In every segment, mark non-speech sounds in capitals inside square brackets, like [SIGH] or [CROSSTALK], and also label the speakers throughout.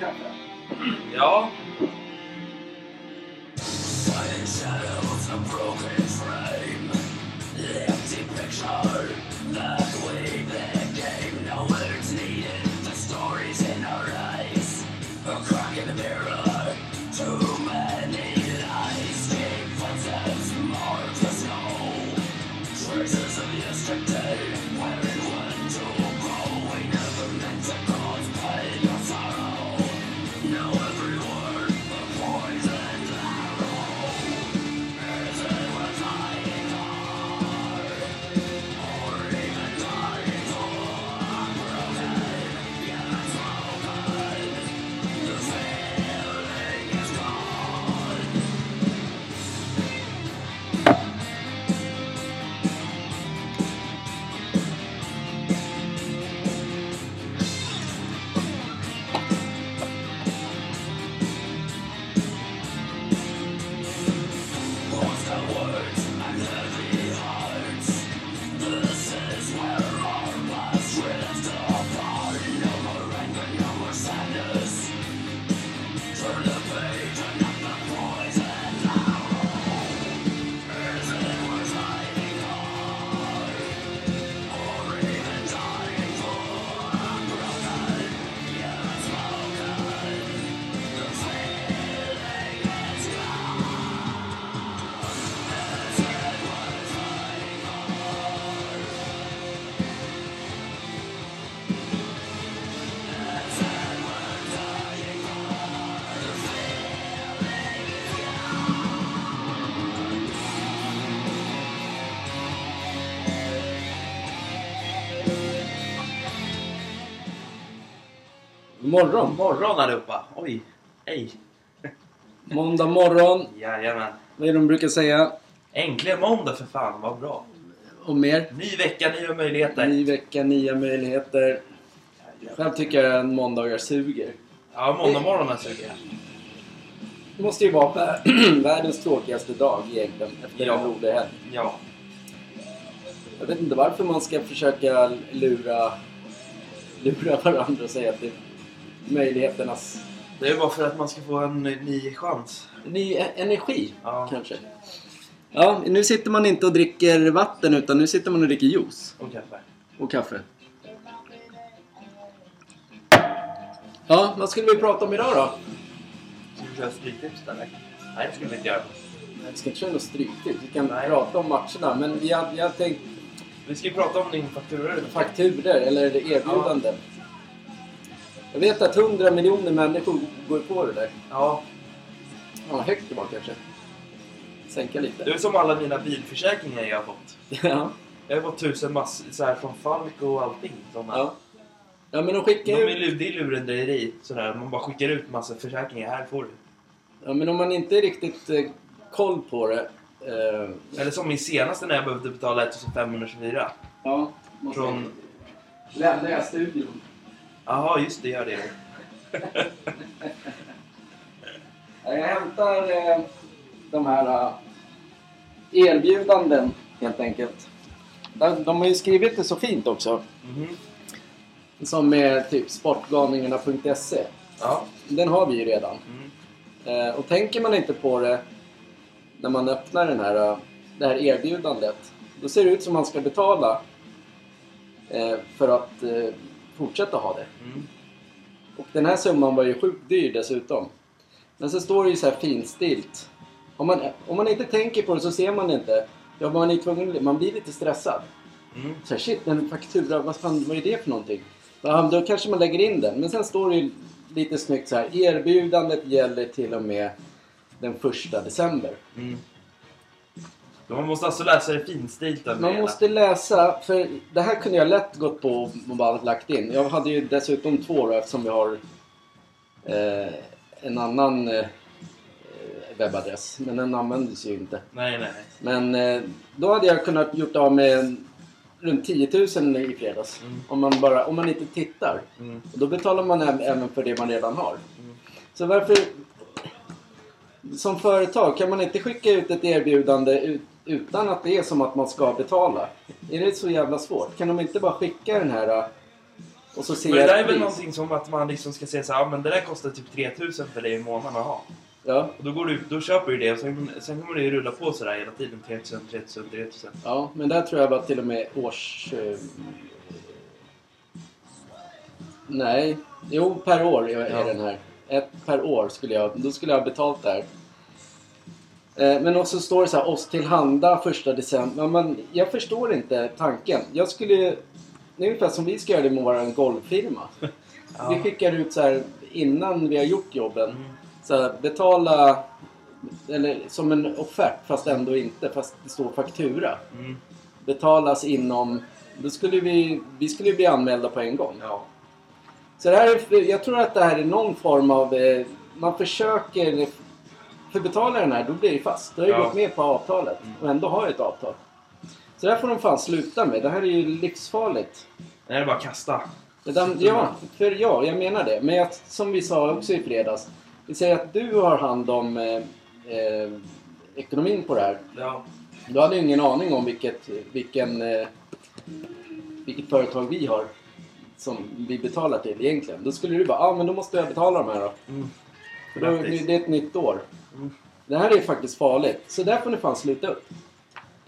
Speaker 1: kanske?
Speaker 2: Ja. Morgon. Morgon allihopa. Oj. Hej.
Speaker 3: Måndag morgon,
Speaker 2: Jajamän.
Speaker 3: vad är det de brukar säga?
Speaker 2: Äntligen måndag för fan. Vad bra.
Speaker 3: Och mer.
Speaker 2: Ny vecka, nya möjligheter.
Speaker 3: Ny vecka, nya möjligheter. Själv tycker jag att måndagar suger.
Speaker 2: Ja, måndag morgon alltså.
Speaker 3: Det måste ju vara [CLEARS THROAT] vär- världens tråkigaste dag egentligen efter
Speaker 2: Ja.
Speaker 3: en rolig helg.
Speaker 2: Ja.
Speaker 3: Jag vet inte varför man ska försöka lura, lura varandra och säga att det är möjligheternas...
Speaker 2: Det är bara för att man ska få en ny chans.
Speaker 3: Ny e- energi,
Speaker 2: Ja.
Speaker 3: kanske. Ja, nu sitter man inte och dricker vatten utan nu sitter man och dricker juice.
Speaker 2: Och kaffe.
Speaker 3: Och kaffe. Ja, vad skulle vi prata om idag då?
Speaker 2: Ska vi köra stryktips eller? Nej, det ska vi inte göra.
Speaker 3: Vi ska inte köra något stryktips. Vi kan
Speaker 2: Nej.
Speaker 3: prata om matcherna. Men jag, jag tänkte
Speaker 2: Vi ska ju prata om din faktura. lite.
Speaker 3: fakturer eller erbjudanden. Jag vet att 100 miljoner människor går på det där.
Speaker 2: Ja.
Speaker 3: Ja, högt det var kanske. Sänka
Speaker 2: Det
Speaker 3: lite.
Speaker 2: är som alla mina bilförsäkringar jag har fått.
Speaker 3: [LAUGHS] Ja,
Speaker 2: Jag har fått tusen massor så här från Falk och allting. Såna.
Speaker 3: ja. ja men de skickar
Speaker 2: De är,
Speaker 3: ju...
Speaker 2: lu- det är lurendrejeri. Sådär. Man bara skickar ut massa försäkringar. Här får du.
Speaker 3: Ja, men om man inte är riktigt eh, koll på det... Eh,
Speaker 2: Eller som min senaste när jag behövde betala 1524.
Speaker 3: ja,
Speaker 2: Från...
Speaker 3: Lämnar jag studion?
Speaker 2: Jaha, just det. Gör det.
Speaker 3: Ja, Jag hämtar eh, de här eh, erbjudanden helt enkelt. De, de har ju skrivit det så fint också.
Speaker 2: Mhm.
Speaker 3: Som är typ sportgalningarna.se.
Speaker 2: Ja.
Speaker 3: Den har vi ju redan.
Speaker 2: Mm.
Speaker 3: Eh, och tänker man inte på det när man öppnar den här, eh, det här erbjudandet. Då ser det ut som man ska betala eh, för att eh, fortsätta ha det.
Speaker 2: Mm.
Speaker 3: Och den här summan var ju sjukt dyr dessutom. Men så står det ju så här finstilt. Om man, om man inte tänker på det så ser man det inte. Ja, man, är tvungen, man blir lite stressad.
Speaker 2: Mm.
Speaker 3: Så här, shit, en faktura, vad fan vad är det för någonting? Ja, då kanske man lägger in den. Men sen står det ju lite snyggt så här. Erbjudandet gäller till och med den första december.
Speaker 2: Mm. Man måste alltså läsa det finstilt. där
Speaker 3: Man
Speaker 2: med.
Speaker 3: måste läsa, för det här kunde jag lätt gått på och bara lagt in. Jag hade ju dessutom två då, eftersom vi har eh, en annan eh, webbadress. Men den användes ju inte.
Speaker 2: Nej, nej. nej.
Speaker 3: Men eh, då hade jag kunnat gjort av med en- runt 10 000 i fredags.
Speaker 2: Mm.
Speaker 3: Om, man bara, om man inte tittar.
Speaker 2: Mm.
Speaker 3: Och då betalar man äv- även för det man redan har.
Speaker 2: Mm.
Speaker 3: Så varför... Som företag, kan man inte skicka ut ett erbjudande ut, utan att det är som att man ska betala? Är det så jävla svårt? Kan de inte bara skicka den här... äh, Och så ser
Speaker 2: Men det där
Speaker 3: jag
Speaker 2: är
Speaker 3: ett
Speaker 2: väl
Speaker 3: pris.
Speaker 2: någonting som att man liksom ska säga så här, "Ja, men det där kostar typ 3000 för dig i månaden att ha.
Speaker 3: Ja,
Speaker 2: Och då, går du, då köper du det och sen, sen kommer det ju rulla på sådär hela tiden. 3000, 3000, 3000.
Speaker 3: ja, men där tror jag var till och med års... Eh, nej, jo per år är,
Speaker 2: Ja.
Speaker 3: är den här. Ett per år skulle jag... Då skulle jag ha betalt där. Eh, men också står det så här, oss tillhanda första december. Ja, men jag förstår inte tanken. Jag skulle... Det är ungefär som vi ska göra det med vår golvfirma. Vi
Speaker 2: [LAUGHS] Ja.
Speaker 3: skickar ut så här innan vi har gjort jobben.
Speaker 2: Mm.
Speaker 3: Så här, betala eller som en offert fast ändå inte fast det står faktura.
Speaker 2: Mm.
Speaker 3: Betalas inom då skulle vi, vi skulle ju bli anmälda på en gång.
Speaker 2: Ja.
Speaker 3: Så det här är, jag tror att det här är någon form av eh, man försöker för betalar den här då blir det fast. Då har jag
Speaker 2: Ja.
Speaker 3: gått med på avtalet
Speaker 2: Mm.
Speaker 3: och ändå har jag ett avtal. Så det här får de fan sluta med. Det här är ju livsfarligt.
Speaker 2: Nej, det är bara att kasta.
Speaker 3: Det där, ja, för ja, jag menar det. Men jag, som vi sa också i fredags. Vi säger att du har hand om eh, eh, ekonomin på det här.
Speaker 2: Ja.
Speaker 3: Du hade ju ingen aning om vilket, vilken, eh, vilket företag vi har som vi betalar till egentligen. Då skulle du bara, ja ah, men då måste jag betala de här då.
Speaker 2: Mm.
Speaker 3: För då
Speaker 2: Grattis.
Speaker 3: det är ett nytt år.
Speaker 2: Mm.
Speaker 3: Det här är faktiskt farligt. Så där får ni fan sluta upp.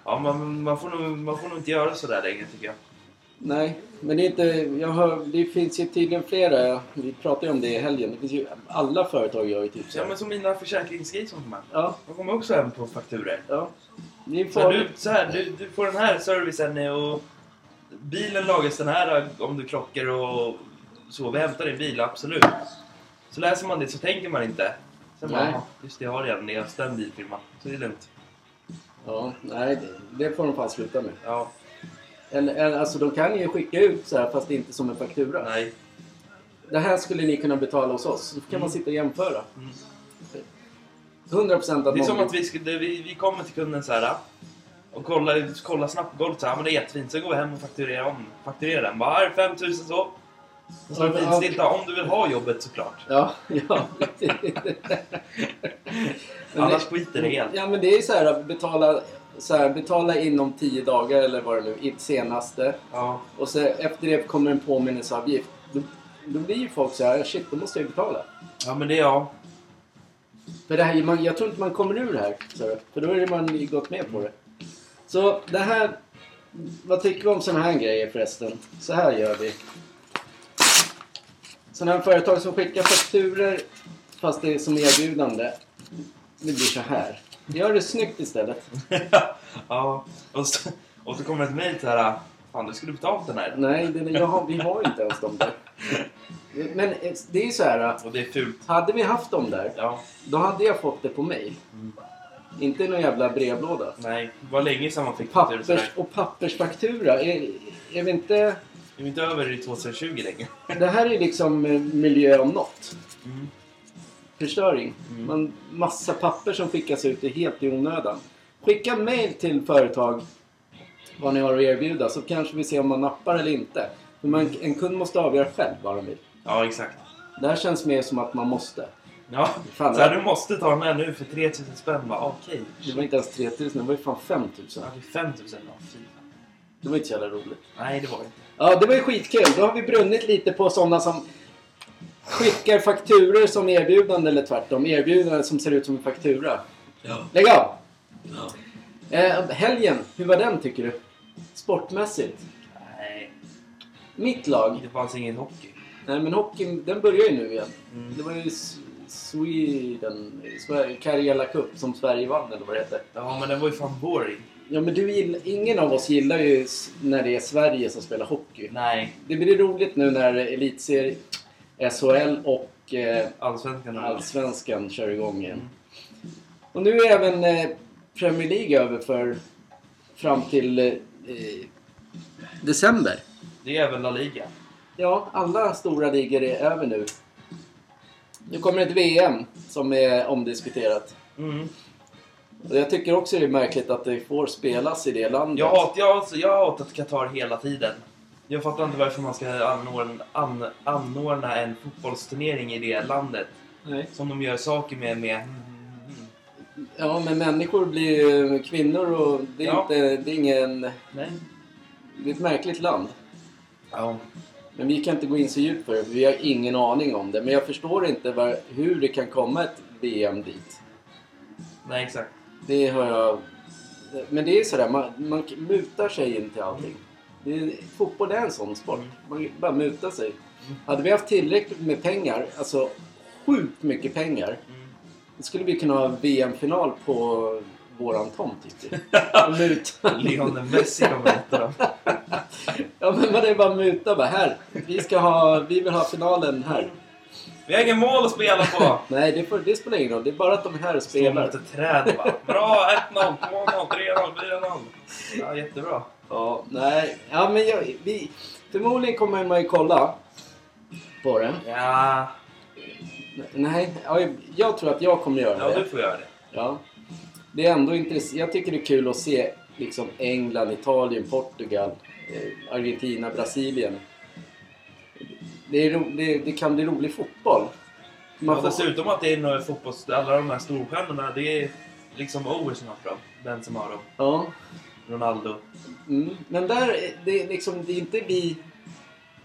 Speaker 2: Ja, man, man, får nog, man får nog inte göra sådär längre tycker jag.
Speaker 3: Nej, men det, är inte, jag hör, det finns ju tydligen flera, vi pratade ju om det i helgen, det finns ju, alla företag gör ju typ så.
Speaker 2: Ja,
Speaker 3: här.
Speaker 2: men som mina försäkringsgrejer som kommer.
Speaker 3: Ja,
Speaker 2: De kommer också hem på fakturor.
Speaker 3: ja. Det är
Speaker 2: Så
Speaker 3: farligt.
Speaker 2: du, så här, du, du får den här servicen och bilen lagas den här om du krockar och så. Vi hämtar din bil, absolut. Så läser man det så tänker man inte. Sen bara,
Speaker 3: Nej.
Speaker 2: "Jaha, just det, jag har redan det hos den bilfirman. Så det är lugnt.
Speaker 3: Ja, nej, det- det får de fan sluta med.
Speaker 2: Ja,
Speaker 3: Eller, eller, alltså de kan ju skicka ut så här fast det är inte som en faktura.
Speaker 2: nej.
Speaker 3: Det här skulle ni kunna betala hos oss. Då kan man sitta och jämföra.
Speaker 2: Mm.
Speaker 3: 100% att
Speaker 2: Det är
Speaker 3: någon-
Speaker 2: som att vi, skulle, vi, vi kommer till kunden så här och kollar, kollar snabbt på golvet så här, "Ja, men det är jättefint. Sen går vi hem och fakturerar om. Fakturerar den. Bara, "Här, 5000 så. Och så
Speaker 3: Ja, men, ja.
Speaker 2: finstilta, om du vill ha jobbet såklart.
Speaker 3: Ja, ja. [LAUGHS] Men
Speaker 2: Annars skiter det helt.
Speaker 3: Ja men det är ju så här att betala, så här, betala inom 10 dagar eller vad det nu är, senaste.
Speaker 2: Ja.
Speaker 3: Och så efter det kommer en påminnelseavgift. Då, då blir ju folk så här, shit då måste jag ju betala.
Speaker 2: ja, men det är [LAUGHS] jag.
Speaker 3: För det här, man, jag tror inte man kommer ur det här. sa du. För då har man ju gått med på det. Så det här... Vad tycker vi om sådana här grejer förresten? Så här gör vi. Sådana här företag som skickar fakturer fast det är som erbjudande. Det blir så här. Gör det snyggt istället.
Speaker 2: ja, och så, och så kommer ett mejl så här. Fan, du skulle betalt den här.
Speaker 3: Nej, det, jag har, vi har inte ens dem där. Men eh, det är ju så här.
Speaker 2: Och det är fult.
Speaker 3: Hade vi haft dem där,
Speaker 2: Ja,
Speaker 3: då hade jag fått det på mail.
Speaker 2: Mm.
Speaker 3: Inte i någon jävla brevlåda.
Speaker 2: nej. Det var länge sedan man fick fakturor
Speaker 3: Pappers
Speaker 2: Typ sådär.
Speaker 3: och pappersfaktura. Är, är vi inte...
Speaker 2: Vi är inte över i 2020 längre.
Speaker 3: Det här är liksom eh, miljö om något.
Speaker 2: Mm.
Speaker 3: Förstöring.
Speaker 2: Mm.
Speaker 3: Man, massa papper som skickas ut är helt i onödan. Skicka mail till företag vad ni har att erbjuda så kanske vi ser om man nappar eller inte. För man,
Speaker 2: Mm.
Speaker 3: en kund måste avgöra själv vad de vill.
Speaker 2: Ja, exakt.
Speaker 3: Det här känns mer som att man måste.
Speaker 2: Ja,
Speaker 3: Fan,
Speaker 2: så här, du måste ta den här nu för 3000 spänn. Bara, Okej.
Speaker 3: Det var inte ens 3000, det var ju fan 5000.
Speaker 2: Ja, det är 5000. Ja, fy fan.
Speaker 3: Det var inte så jävla roligt.
Speaker 2: Nej, det var det inte.
Speaker 3: Ja, det var ju skitkul. Då har vi brunnit lite på sådana som skickar fakturer som erbjudande eller tvärtom. Erbjudande som ser ut som en faktura.
Speaker 2: Ja.
Speaker 3: Lägg av!
Speaker 2: ja.
Speaker 3: Eh, helgen, hur var den tycker du? Sportmässigt?
Speaker 2: Nej,
Speaker 3: Mitt lag?
Speaker 2: det fanns ingen hockey.
Speaker 3: Nej men hockeyn, den börjar ju nu igen.
Speaker 2: Mm.
Speaker 3: Det var ju S- Sweden, Sver- Karjala Cup som Sverige vann eller vad det heter.
Speaker 2: Ja, men den var ju fan boring.
Speaker 3: Ja men du gillar, ingen av oss gillar ju s- när det är Sverige som spelar hockey.
Speaker 2: Nej,
Speaker 3: Det blir roligt nu när elitserien, SHL och eh,
Speaker 2: allsvenskan. har-
Speaker 3: Allsvenskan kör igång igen.
Speaker 2: Mm.
Speaker 3: Och nu är även eh, Premier League över för fram till eh, eh, december.
Speaker 2: Det är väl La Liga.
Speaker 3: Ja, alla stora ligor är över nu. Nu kommer ett VM som är omdiskuterat.
Speaker 2: Mm.
Speaker 3: Och jag tycker också det är märkligt att det får spelas i det landet.
Speaker 2: Jag, hat, jag, alltså, jag har hatat Qatar hela tiden. Jag fattar inte varför man ska anordna, an, anordna en fotbollsturnering i det landet.
Speaker 3: Nej.
Speaker 2: Som de gör saker med. med mm, mm,
Speaker 3: Ja, men människor blir ju kvinnor och det är,
Speaker 2: Ja.
Speaker 3: inte, det är ingen...
Speaker 2: nej.
Speaker 3: Det är ett märkligt land.
Speaker 2: Ja.
Speaker 3: Men vi kan inte gå in så djupt på det, för vi har ingen aning om det. Men jag förstår inte var, hur det kan komma ett VM dit.
Speaker 2: Nej, exakt.
Speaker 3: Det har jag... Men det är sådär, man, man mutar sig in till allting. Det är, fotboll är en sån sport. Man bara mutar sig. Hade vi haft tillräckligt med pengar, alltså sjukt mycket pengar,
Speaker 2: Mm.
Speaker 3: då skulle vi kunna ha VM-final på våran tomt typ. Och muta.
Speaker 2: Lionel Messi kommer hit då.
Speaker 3: Ja men vad det är bara muta bara här. Vi ska ha, vi vill ha finalen här.
Speaker 2: Vi har ingen mål att spela på!
Speaker 3: Nej det, får, det spelar ingen roll, det är bara att de är här och
Speaker 2: Står mot
Speaker 3: spelar.
Speaker 2: ett träd bara. Bra! 1-0, 2-0, 3-0, 4-0. Ja, jättebra.
Speaker 3: Ja, nej. Ja men jag, vi, förmodligen kommer man ju kolla på det.
Speaker 2: Ja,
Speaker 3: Nej, ja, jag- jag tror att jag kommer göra
Speaker 2: ja du
Speaker 3: det.
Speaker 2: får göra det.
Speaker 3: Ja. Det är ändå intress- Jag tycker det är kul att se liksom England, Italien, Portugal, eh, Argentina, Brasilien. Det, är ro- det, det kan bli rolig fotboll.
Speaker 2: Man får... Dessutom att det är några fotbolls... Alla de här storstjärnorna, det är liksom Owers som har dem. Den som har dem.
Speaker 3: ja.
Speaker 2: Ronaldo.
Speaker 3: Mm. Men där, är- det är, liksom, det är inte vi,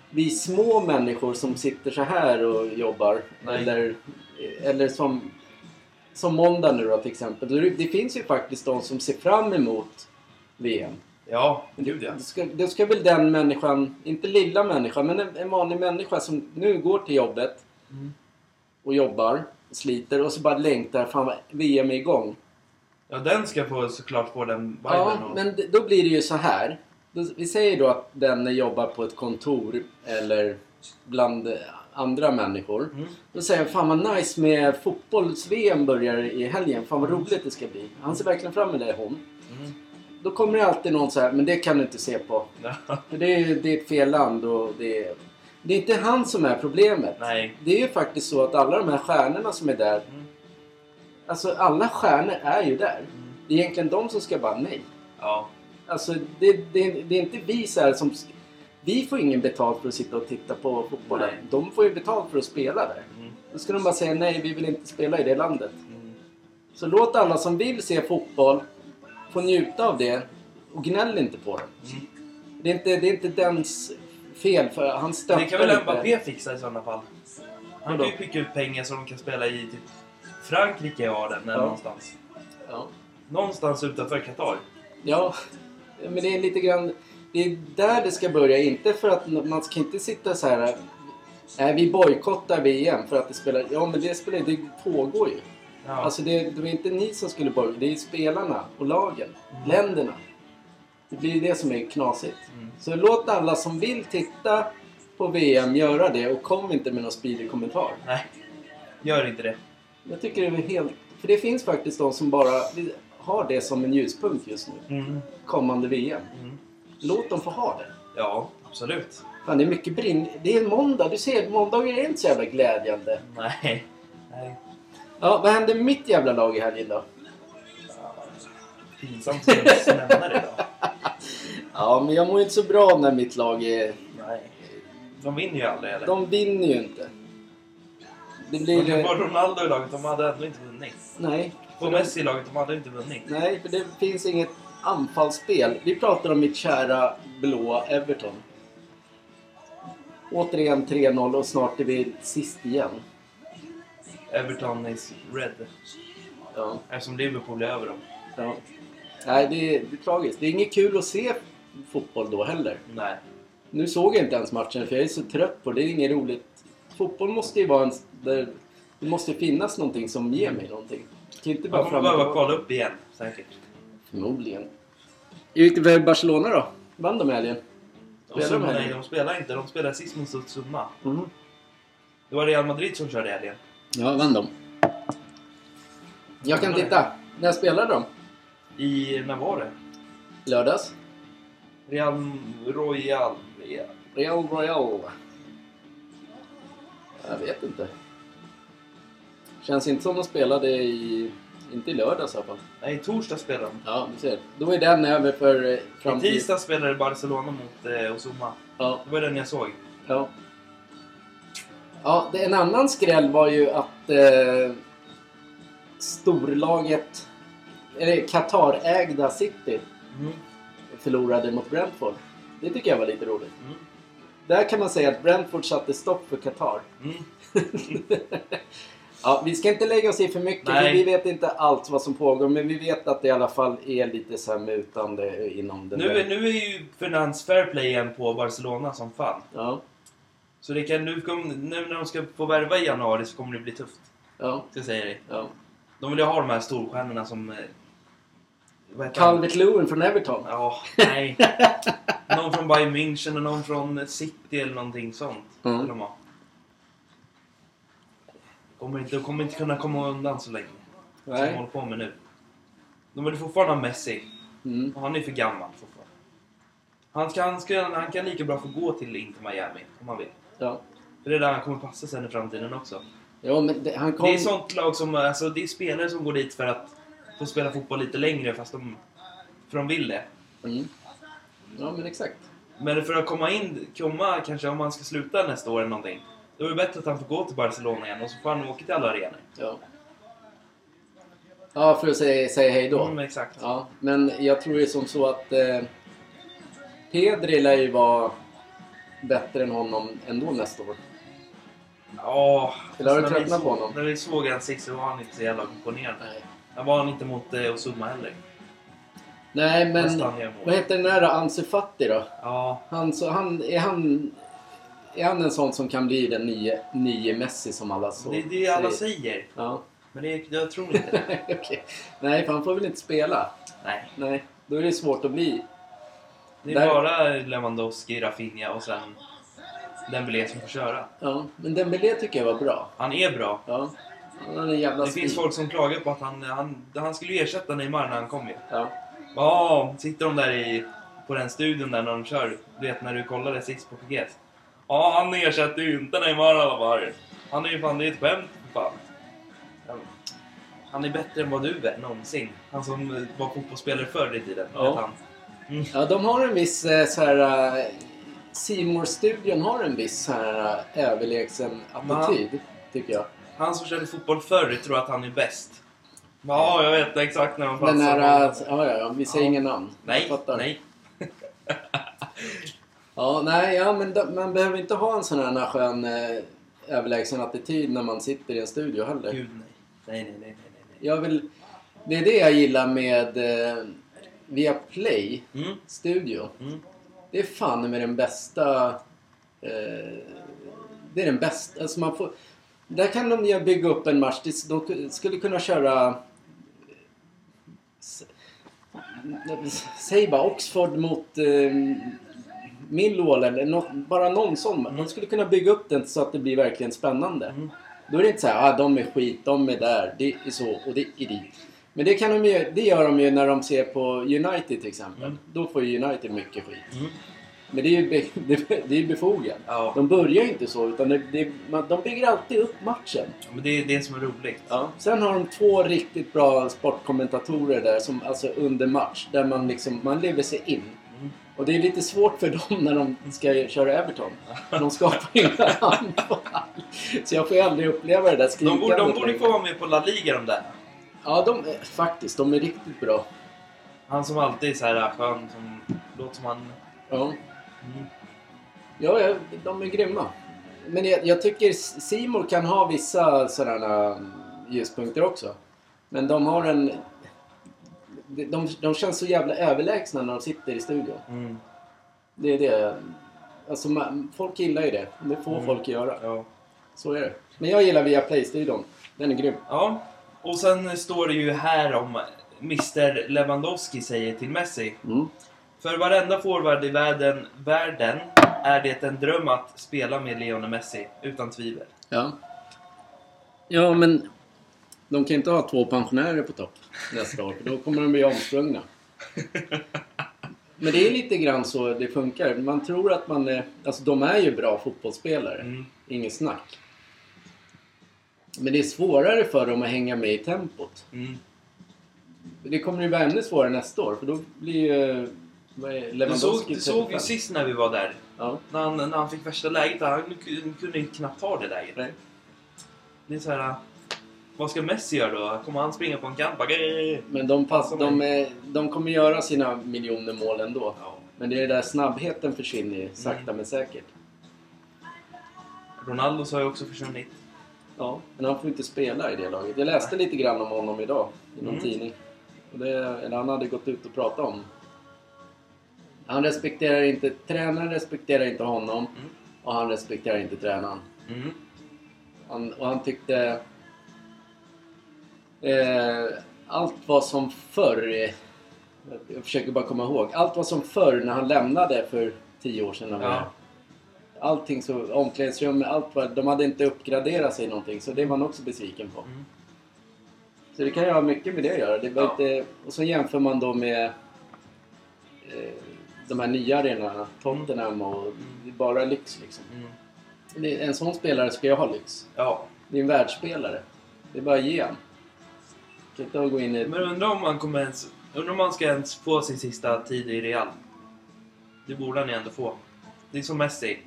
Speaker 3: vi små människor som sitter så här och jobbar.
Speaker 2: Nej.
Speaker 3: Eller, eller som, som måndag nu då till exempel. Det, det finns ju faktiskt de som ser fram emot VM.
Speaker 2: Ja, gud ja.
Speaker 3: Då ska, då ska väl den människan, inte lilla människan, men en, en vanlig människa som nu går till jobbet
Speaker 2: Mm.
Speaker 3: och jobbar, sliter och så bara längtar, fan vad VM är igång.
Speaker 2: Ja, den ska få såklart få den Biden
Speaker 3: Ja,
Speaker 2: och...
Speaker 3: men d- då blir det ju så här. Då- Vi säger då att den jobbar på ett kontor eller bland eh, andra människor.
Speaker 2: Mm.
Speaker 3: Då säger han, fan vad nice med fotbolls-VM börjar i helgen. Fan vad roligt det ska bli. Han ser verkligen fram emot det, hon.
Speaker 2: Mm.
Speaker 3: Då kommer det alltid någon så här, men det kan du inte se på.
Speaker 2: Ja, [LAUGHS]
Speaker 3: För det är, det är ett fel land och det är... Det är inte han som är problemet.
Speaker 2: Nej.
Speaker 3: Det är ju faktiskt så att alla de här stjärnorna som är där,
Speaker 2: Mm.
Speaker 3: alltså alla stjärnor är ju där.
Speaker 2: Mm.
Speaker 3: Det är egentligen de som ska bara, nej.
Speaker 2: Ja.
Speaker 3: Alltså, det, det, det är inte vi så här som... Vi får ingen betalt för att sitta och titta på fotbollen.
Speaker 2: Nej.
Speaker 3: De får ju betalt för att spela där.
Speaker 2: Mm.
Speaker 3: Då ska de bara säga nej, vi vill inte spela i det landet.
Speaker 2: Mm.
Speaker 3: Så låt alla som vill se fotboll få njuta av det och gnäll inte på dem.
Speaker 2: Mm.
Speaker 3: Det är inte, det är inte dens fel, för han stöttar
Speaker 2: Det kan väl
Speaker 3: inte.
Speaker 2: Mbappé fixa i sådana fall? Han
Speaker 3: Vadå?
Speaker 2: kan ju skicka ut pengar så de kan spela i typ Frankrike har den eller
Speaker 3: Ja.
Speaker 2: någonstans.
Speaker 3: Ja.
Speaker 2: Någonstans utanför Qatar.
Speaker 3: ja, men det är lite grann... Det är där det ska börja, inte för att man ska inte sitta så här... Nej, vi bojkottar VM för att det spelar... Ja, men det, spelar, det pågår ju.
Speaker 2: Ja.
Speaker 3: Alltså det, det var inte ni som skulle börja, det är spelarna och lagen,
Speaker 2: Mm.
Speaker 3: länderna. Det blir det som är knasigt.
Speaker 2: Mm.
Speaker 3: Så låt alla som vill titta på VM göra det och kom inte med någon spydig kommentar.
Speaker 2: Nej, gör inte det.
Speaker 3: Jag tycker det är helt... För det finns faktiskt de som bara har det som en ljuspunkt just nu.
Speaker 2: Mm.
Speaker 3: Kommande VM.
Speaker 2: Mm.
Speaker 3: Låt dem få ha det.
Speaker 2: Ja, absolut.
Speaker 3: Fan, det är mycket brinn... Det är måndag, du ser, måndagar är inte så jävla glädjande.
Speaker 2: Nej. Nej.
Speaker 3: Ja, vad hände med mitt jävla lag i helgen då? [LAUGHS]
Speaker 2: Pinsamt för oss nämnare idag.
Speaker 3: Ja, men jag mår ju inte så bra när mitt lag är
Speaker 2: Nej. De vinner ju aldrig eller?
Speaker 3: De vinner ju inte. Det blir...
Speaker 2: Det var Ronaldo i laget, de hade ändå inte vunnit.
Speaker 3: Nej,
Speaker 2: Och Messi i laget, de hade inte vunnit.
Speaker 3: nej, för det finns inget anfallsspel. Vi pratar om mitt kära blåa Everton. Återigen 3-0 och snart är vi sist igen.
Speaker 2: Everton is red.
Speaker 3: Ja.
Speaker 2: Eftersom Liverpool är över dem.
Speaker 3: ja. Nej, det är, det är tragiskt. Det är inget kul att se fotboll då heller.
Speaker 2: Nej.
Speaker 3: Nu såg jag inte ens matchen för jag är så trött på det. Det är inget roligt. Fotboll måste ju vara en... Där, det måste finnas någonting som ger mig någonting. Det kan inte bara
Speaker 2: Man kommer
Speaker 3: fram och
Speaker 2: behöva
Speaker 3: tillbaka.
Speaker 2: kvala upp igen, säkert.
Speaker 3: Förmodligen. Hur gick det för Barcelona då? Vann de i helgen?
Speaker 2: Och
Speaker 3: Spelar
Speaker 2: så,
Speaker 3: de här
Speaker 2: nej,
Speaker 3: nu?
Speaker 2: de spelar inte. De spelar sist mot Summa. Det var Real Madrid som körde i helgen.
Speaker 3: Ja, vann de. Jag kan titta. När spelade de?
Speaker 2: I, när var det?
Speaker 3: Lördags?
Speaker 2: Real Royal... Real.
Speaker 3: Real Royal. Jag vet inte. Känns inte som de spelade i... Inte i lördags i alla fall.
Speaker 2: Nej, i torsdag spelade de.
Speaker 3: Ja, du ser. Då är den över för eh,
Speaker 2: I
Speaker 3: framtiden.
Speaker 2: tisdag spelade Barcelona mot eh, Osuma.
Speaker 3: Ja,
Speaker 2: Det var den jag såg.
Speaker 3: ja. Ja, det- en annan skräll var ju att eh, storlaget, eller Qatar-ägda City
Speaker 2: Mm.
Speaker 3: förlorade mot Brentford. Det tycker jag var lite roligt.
Speaker 2: Mm.
Speaker 3: där kan man säga att Brentford satte stopp för Qatar.
Speaker 2: Mm.
Speaker 3: Ja, vi ska inte lägga oss i för mycket, för
Speaker 2: Nej.
Speaker 3: vi vet inte allt vad som pågår. Men vi vet att det i alla fall är lite så här mutande inom den
Speaker 2: Nu,
Speaker 3: där.
Speaker 2: är- nu är ju finans fair play igen på Barcelona som fan.
Speaker 3: Ja,
Speaker 2: Så det kan, nu, kom, nu när de ska få värva i januari så kommer det bli tufft.
Speaker 3: ja,
Speaker 2: Ska jag säga dig.
Speaker 3: ja.
Speaker 2: De vill ju ha de här storstjärnorna som... eh, Vad heter han?
Speaker 3: Calvert Lewin från Everton.
Speaker 2: Ja, nej. någon från Bayern München och någon från City eller någonting sånt.
Speaker 3: Mm.
Speaker 2: vill De ha. kommer inte, de kommer inte kunna komma undan så länge. Som de
Speaker 3: Nej.
Speaker 2: håller på med nu. De vill fortfarande ha Messi.
Speaker 3: Mm.
Speaker 2: Och han är för gammal fortfarande. Han, ska, han, ska, han kan lika bra få gå till Inter Miami om han vill.
Speaker 3: Ja.
Speaker 2: För det är där han kommer passa sen i framtiden också.
Speaker 3: Ja, men det, han kom...
Speaker 2: Det är sånt lag som, alltså det är spelare som går dit för att få spela fotboll lite längre fast de, för de vill det.
Speaker 3: Mm. Ja, men exakt.
Speaker 2: Men för att komma in, komma kanske om han ska sluta nästa år eller någonting. Då är det bättre att han får gå till Barcelona igen och så får han åka till alla arenor.
Speaker 3: Ja. Ja, för att säga, säga hej då.
Speaker 2: Mm, exakt.
Speaker 3: Ja, men jag tror det är som så att eh, Pedri lär ju vara bättre än honom ändå nästa år.
Speaker 2: Ja.
Speaker 3: Eller har du
Speaker 2: alltså, när vi
Speaker 3: tröttnat på
Speaker 2: såg-
Speaker 3: honom?
Speaker 2: När vi såg han sist så var han inte så jävla imponerande.
Speaker 3: Nej,
Speaker 2: Han var han inte mot eh, Osuma heller.
Speaker 3: Nej men
Speaker 2: Fast han gör mål.
Speaker 3: vad heter den där då? Ansu Fati då?
Speaker 2: Ja,
Speaker 3: Han, så, han, är, han, är han en sån som kan bli den nye, nye Messi som alla så
Speaker 2: det är det alla säger.
Speaker 3: Ja, [LAUGHS]
Speaker 2: Men det, jag tror inte det.
Speaker 3: okej. Nej, för han får väl inte spela?
Speaker 2: Nej.
Speaker 3: Nej, då är det svårt att bli.
Speaker 2: Det är
Speaker 3: Där-
Speaker 2: bara Lewandowski, Rafinha och sen Dembélé som får köra.
Speaker 3: Ja, men Dembélé tycker jag var bra.
Speaker 2: Han är bra.
Speaker 3: Ja, han har en jävla
Speaker 2: Det finns
Speaker 3: speed.
Speaker 2: folk som klagar på att han, han, han skulle ju ersätta Neymar när han kom ju.
Speaker 3: Ja.
Speaker 2: Ja, sitter de där i, på den studion där när de kör. Du vet när du kollade sist på PGS. Ja, han ersätter ju inte Neymar i alla fall. Han är ju fan, det är ett skämt för fan. Ja, men, Han är bättre än vad du är någonsin. Han som eh, var fotbollsspelare förr i tiden.
Speaker 3: Ja.
Speaker 2: Vet han.
Speaker 3: Ja, de har en viss eh, så här... simor studion har en viss så här eh, överlägsen attityd, tycker jag.
Speaker 2: han som körde fotboll förr tror att han är bäst. Ja, jag vet exakt när han passar.
Speaker 3: Den här... eh,
Speaker 2: bollen.
Speaker 3: Ja, ja, ja, vi säger
Speaker 2: Ja.
Speaker 3: inga namn. Jag
Speaker 2: nej,
Speaker 3: fattar.
Speaker 2: nej.
Speaker 3: Ja, nej, ja, men de, man behöver inte ha en sån här skön eh, överlägsen attityd när man sitter i en studio heller.
Speaker 2: Gud nej. Nej, nej, nej, nej. nej,
Speaker 3: Jag vill... Det är det jag gillar med eh, via Play
Speaker 2: nej. Mm,
Speaker 3: Studio.
Speaker 2: mm.
Speaker 3: Det är fan med den bästa... Eh, det är den bästa. Alltså man får, där kan de ju bygga upp en match. Det- De ku- skulle kunna köra... eh, s- Säg bara Oxford mot eh, Millwall eller nå- bara någon sån. De skulle kunna bygga upp den så att det blir verkligen spännande.
Speaker 2: Mm.
Speaker 3: Då är det inte så här, ah, de är skit, de är där, det är så och det är dit. Men det, kan de ju, det gör de ju när de ser på United till exempel.
Speaker 2: Mm.
Speaker 3: Då får ju United mycket skit.
Speaker 2: Mm.
Speaker 3: Men det är ju be, [LAUGHS] det, det är ju befogat.
Speaker 2: Ja,
Speaker 3: De börjar ju inte så, utan det, det, man, de bygger alltid upp matchen.
Speaker 2: men det är det som är roligt.
Speaker 3: Sen har de två riktigt bra sportkommentatorer där, som, alltså under match, där man, liksom, man lever sig in.
Speaker 2: Mm.
Speaker 3: Och det är lite svårt för dem när de ska köra Everton. De skapar
Speaker 2: [LAUGHS]
Speaker 3: inga anfall. Så jag får ju aldrig uppleva det där
Speaker 2: De
Speaker 3: skrikandet
Speaker 2: borde, de borde
Speaker 3: längre.
Speaker 2: få vara med på La Liga de där.
Speaker 3: Ja, de, är- faktiskt. De är riktigt bra.
Speaker 2: Han som alltid är så här skön, som låter som han...
Speaker 3: Ja,
Speaker 2: Mm.
Speaker 3: ja, ja de är grymma. Men jag, jag tycker Simor kan ha vissa sådana mm, ljuspunkter också. Men de har en... De, de, de känns så jävla överlägsna när de sitter i studion.
Speaker 2: Mm.
Speaker 3: Det är det. Alltså, man, folk gillar ju det. Det får
Speaker 2: Mm.
Speaker 3: folk göra.
Speaker 2: Ja.
Speaker 3: Så är det. Men jag gillar Viaplay-studion. Den är grym.
Speaker 2: ja. Och sen står det ju här om Mr Lewandowski säger till Messi.
Speaker 3: Mm.
Speaker 2: För varenda forward i världen, världen är det en dröm att spela med Lionel Messi, utan tvivel.
Speaker 3: Ja. Ja, men de kan inte ha två pensionärer på topp nästa år, för då kommer de bli omsprungna. Men det är lite grann så det funkar. Man tror att man är... Alltså, de är ju bra fotbollsspelare.
Speaker 2: Mm.
Speaker 3: Inget snack. Men det är svårare för dem att hänga med i tempot.
Speaker 2: Mm.
Speaker 3: Det kommer ju vara ännu svårare nästa år, för då blir ju... Vad är
Speaker 2: Du, såg,
Speaker 3: Lewandowski
Speaker 2: du såg ju
Speaker 3: 35.
Speaker 2: sist när vi var där,
Speaker 3: Ja.
Speaker 2: när han, när han fick värsta läget, han kun- kunde ju knappt ta det läget.
Speaker 3: Nej.
Speaker 2: Det är så här, vad ska Messi göra då? Kommer han springa på en kant? Bara, "Grej!"
Speaker 3: Men de, pass,
Speaker 2: Som
Speaker 3: de, är- de kommer göra sina miljoner mål ändå.
Speaker 2: Ja. Mm.
Speaker 3: Men det är det där snabbheten försvinner ju sakta men säkert.
Speaker 2: Ronaldo har ju också försvunnit.
Speaker 3: Ja, men han får inte spela i det laget. Jag läste lite grann om honom idag i någon
Speaker 2: Mm.
Speaker 3: tidning. Och det, eller han hade gått ut och pratat om. Han respekterar inte, tränaren respekterar inte honom
Speaker 2: Mm.
Speaker 3: och han respekterar inte tränaren.
Speaker 2: Mm.
Speaker 3: Han, och han tyckte... Eh, allt var som förr. eh, Jag försöker bara komma ihåg. Allt var som förr när han lämnade för tio år sedan. när vi-
Speaker 2: Ja.
Speaker 3: Allting så, omklädningsrummet, allt var, de hade inte uppgraderat sig någonting så det var han också besviken på.
Speaker 2: Mm.
Speaker 3: Så det kan ju ha mycket med det att göra. Det var
Speaker 2: Ja.
Speaker 3: inte, och så jämför man då med eh, de här nya arenorna, Tottenham och det är bara lyx liksom.
Speaker 2: Mm.
Speaker 3: Det- En sån spelare ska ju ha lyx.
Speaker 2: Ja.
Speaker 3: Det är en världsspelare. Det är bara att ge han. Kan inte gå in i...
Speaker 2: Men undrar om han kommer ens... Undrar om han ska ens få sin sista tid i Real. Det borde han ju ändå få. Det är som Messi.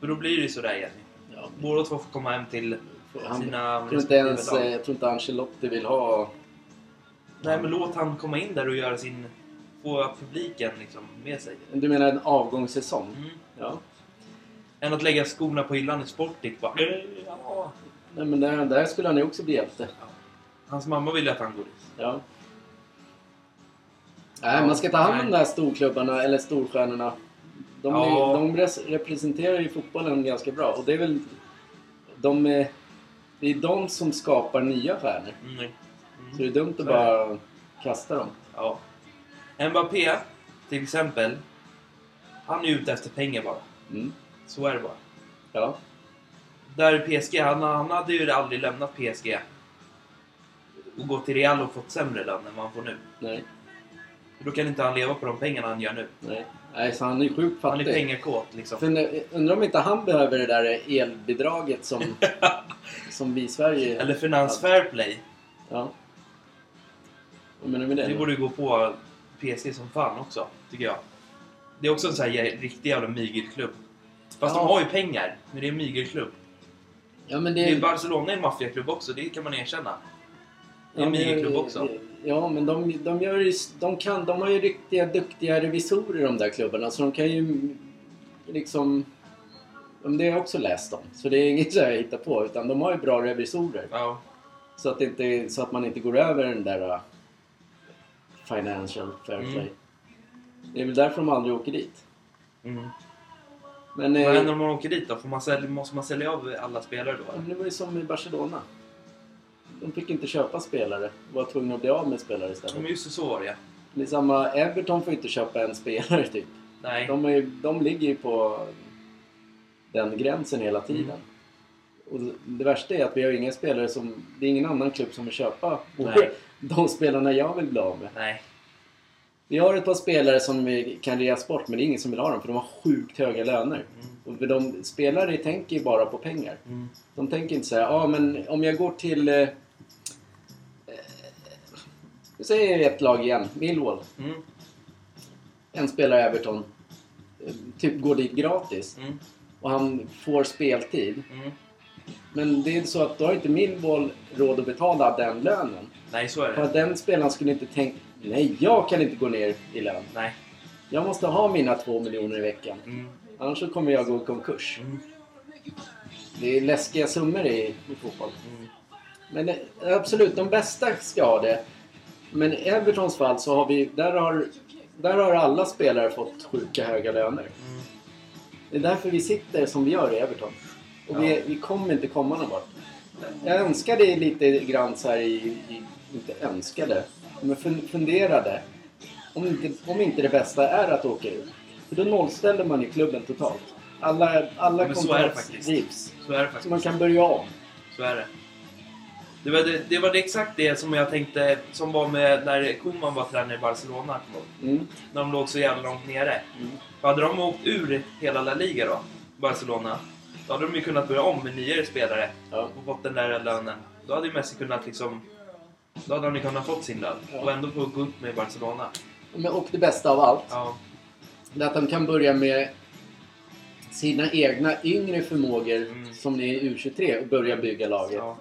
Speaker 2: För då blir det ju sådär igen.
Speaker 3: Ja,
Speaker 2: Båda två får komma hem till
Speaker 3: han,
Speaker 2: sina
Speaker 3: jag, tror inte
Speaker 2: respektive
Speaker 3: ens,
Speaker 2: lag.
Speaker 3: eh, jag tror inte Ancelotti vill ha...
Speaker 2: Nej, men låt han komma in där och göra sin... Få publiken liksom med sig.
Speaker 3: Du menar en avgångssäsong?
Speaker 2: Mm.
Speaker 3: Ja.
Speaker 2: Än att lägga skorna på hyllan i Sportic bara... "Eh, Ja.
Speaker 3: Nej, men där, där skulle han ju också bli hjälte.
Speaker 2: Hans mamma vill ju att han går dit.
Speaker 3: Ja. Nej, man ska ta hand om de här storklubbarna, eller storstjärnorna. De, är,
Speaker 2: Ja.
Speaker 3: de res- representerar ju fotbollen ganska bra och det är väl... De är, det är de som skapar nya stjärnor.
Speaker 2: Mm.
Speaker 3: Så
Speaker 2: Mm.
Speaker 3: det är dumt
Speaker 2: Så
Speaker 3: att
Speaker 2: är det.
Speaker 3: bara kasta dem.
Speaker 2: Ja. Mbappé, till exempel. Han är ute efter pengar bara.
Speaker 3: Mm.
Speaker 2: Så är det bara.
Speaker 3: Ja.
Speaker 2: Där i PSG, han, han hade ju aldrig lämnat PSG. Och gått till Real och fått sämre lön än vad han får nu.
Speaker 3: Nej,
Speaker 2: För då kan inte han leva på de pengarna han gör nu.
Speaker 3: nej. Nej, så han är sjukt
Speaker 2: Han är
Speaker 3: fattig.
Speaker 2: pengakåt liksom.
Speaker 3: Fund- Undrar om inte han behöver det där elbidraget som,
Speaker 2: [LAUGHS]
Speaker 3: som vi i Sverige...
Speaker 2: Eller Finans Fair Play.
Speaker 3: Ja. Vad menar du med det?
Speaker 2: Det
Speaker 3: då?
Speaker 2: borde ju gå på PSG som fan också, tycker jag. Det är också en sån här jä- riktig jävla mygelklubb. Fast
Speaker 3: Ja.
Speaker 2: de har ju pengar, men det är en mygelklubb.
Speaker 3: Ja, men
Speaker 2: Det
Speaker 3: det...
Speaker 2: är Barcelona är en maffiaklubb också, det kan man erkänna. Det är en
Speaker 3: Ja, men-
Speaker 2: mygelklubb också.
Speaker 3: Ja, men de, de, gör ju, de, kan, de har ju riktiga duktiga revisorer de där klubbarna så de kan ju liksom... men Det har jag också läst om. Så det är inget [LAUGHS] så här jag hittar på utan de har ju bra revisorer.
Speaker 2: Ja.
Speaker 3: Så att, det inte, så att man inte går över den där uh, financial fair play.
Speaker 2: Mm.
Speaker 3: Det är väl därför de aldrig åker dit.
Speaker 2: Mm.
Speaker 3: Men,
Speaker 2: Vad
Speaker 3: eh,
Speaker 2: händer om man åker dit då? Får man sälja, måste man sälja av alla spelare då? eller?
Speaker 3: men det var ju som i Barcelona. De fick inte köpa spelare. var tvungna att bli av med spelare istället.
Speaker 2: Men just så var det ja.
Speaker 3: Det är samma, Everton får inte köpa en spelare [LAUGHS] typ.
Speaker 2: Nej.
Speaker 3: De, är, ju- de ligger ju på den gränsen hela tiden. Och det värsta är att vi har inga spelare som... Det är ingen annan klubb som vill köpa
Speaker 2: Nej.
Speaker 3: de spelarna jag vill bli av med.
Speaker 2: Nej.
Speaker 3: Vi har ett par spelare som vi kan reas bort men det är ingen som vill ha dem för de har sjukt höga löner. Och för de, spelare tänker ju bara på pengar.
Speaker 2: Mm.
Speaker 3: De tänker inte så här, ja ah, men om jag går till... Eh, eh, nu säger jag ett lag igen, Millwall.
Speaker 2: Mm.
Speaker 3: En spelare i Everton eh, typ går dit gratis
Speaker 2: Mm.
Speaker 3: och han får speltid.
Speaker 2: Mm.
Speaker 3: Men det är så att då har inte Millwall råd att betala den lönen.
Speaker 2: Nej, så är
Speaker 3: För
Speaker 2: det.
Speaker 3: att den spelaren skulle inte tänka, nej jag kan inte gå ner i lön.
Speaker 2: Nej.
Speaker 3: Jag måste ha mina två miljoner i veckan.
Speaker 2: Mm.
Speaker 3: Annars så kommer jag gå i konkurs.
Speaker 2: Mm.
Speaker 3: Det är läskiga summor i, i fotboll.
Speaker 2: Mm.
Speaker 3: Men eh, absolut, de bästa ska ha det. Men i Evertons fall så har vi, där har, där har alla spelare fått sjuka höga löner.
Speaker 2: Mm.
Speaker 3: Det är därför vi sitter som vi gör i Everton. Och vi,
Speaker 2: Ja.
Speaker 3: vi kommer inte komma någon vart. Jag önskade lite grann så här i, i inte önskade, men fun- funderade. Om inte, om inte det bästa är att åka ur. För då nollställer man ju klubben totalt. Alla, alla
Speaker 2: Men så är det
Speaker 3: kontrakt
Speaker 2: faktiskt.
Speaker 3: rivs.
Speaker 2: Så är det
Speaker 3: Så
Speaker 2: faktiskt.
Speaker 3: man kan börja om.
Speaker 2: Så är det. Det var, det, det var det exakt det som jag tänkte, som var med när Koeman var tränare i Barcelona. kommer jag ihåg.
Speaker 3: Mm.
Speaker 2: När de låg så jävla långt nere.
Speaker 3: Mm.
Speaker 2: Hade de åkt ur hela La Liga då, Barcelona, då hade de ju kunnat börja om med nyare spelare
Speaker 3: Ja.
Speaker 2: och fått den där lönen. Då hade ju Messi kunnat liksom... Då hade han ju kunnat fått sin lön
Speaker 3: Ja.
Speaker 2: och ändå få gå upp med Barcelona.
Speaker 3: Men, och det bästa av allt,
Speaker 2: Ja.
Speaker 3: det är att de kan börja med sina egna yngre förmågor
Speaker 2: Mm.
Speaker 3: som det är i U23 och börja bygga laget.
Speaker 2: ja.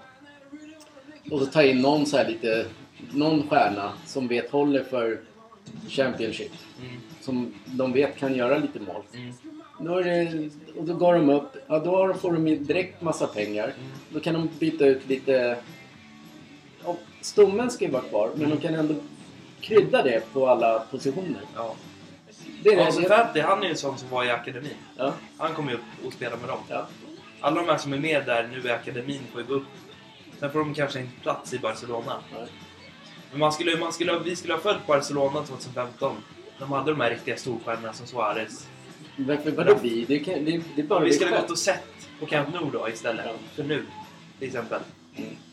Speaker 3: Och så ta in någon så här lite, någon stjärna som vet håller för Championship.
Speaker 2: Mm.
Speaker 3: Som de vet kan göra lite mål.
Speaker 2: Mm.
Speaker 3: Då är det, och då går de upp. Ja, då har- får de ju direkt massa pengar. Då kan de byta ut lite... Och stommen ska ju vara kvar, men de kan ändå krydda det på alla positioner.
Speaker 2: Ja.
Speaker 3: Det är
Speaker 2: Alltså
Speaker 3: det.
Speaker 2: Fatti, han är ju en sån som var i akademin.
Speaker 3: Ja,
Speaker 2: Han kommer ju upp och spelar med dem.
Speaker 3: ja.
Speaker 2: Alla de här som är med där nu i akademin får ju gå upp. Sen får de kanske en plats i Barcelona.
Speaker 3: ja.
Speaker 2: Men man skulle, man skulle, ha- vi skulle ha följt Barcelona 2015. De hade de här riktiga storstjärnorna som Suarez.
Speaker 3: Varför, vadå vi? Det, kan, det, det är bara
Speaker 2: Om vi
Speaker 3: vi
Speaker 2: skulle ha
Speaker 3: själva.
Speaker 2: gått och sett på Camp Nou då istället.
Speaker 3: Ja.
Speaker 2: För nu, till exempel.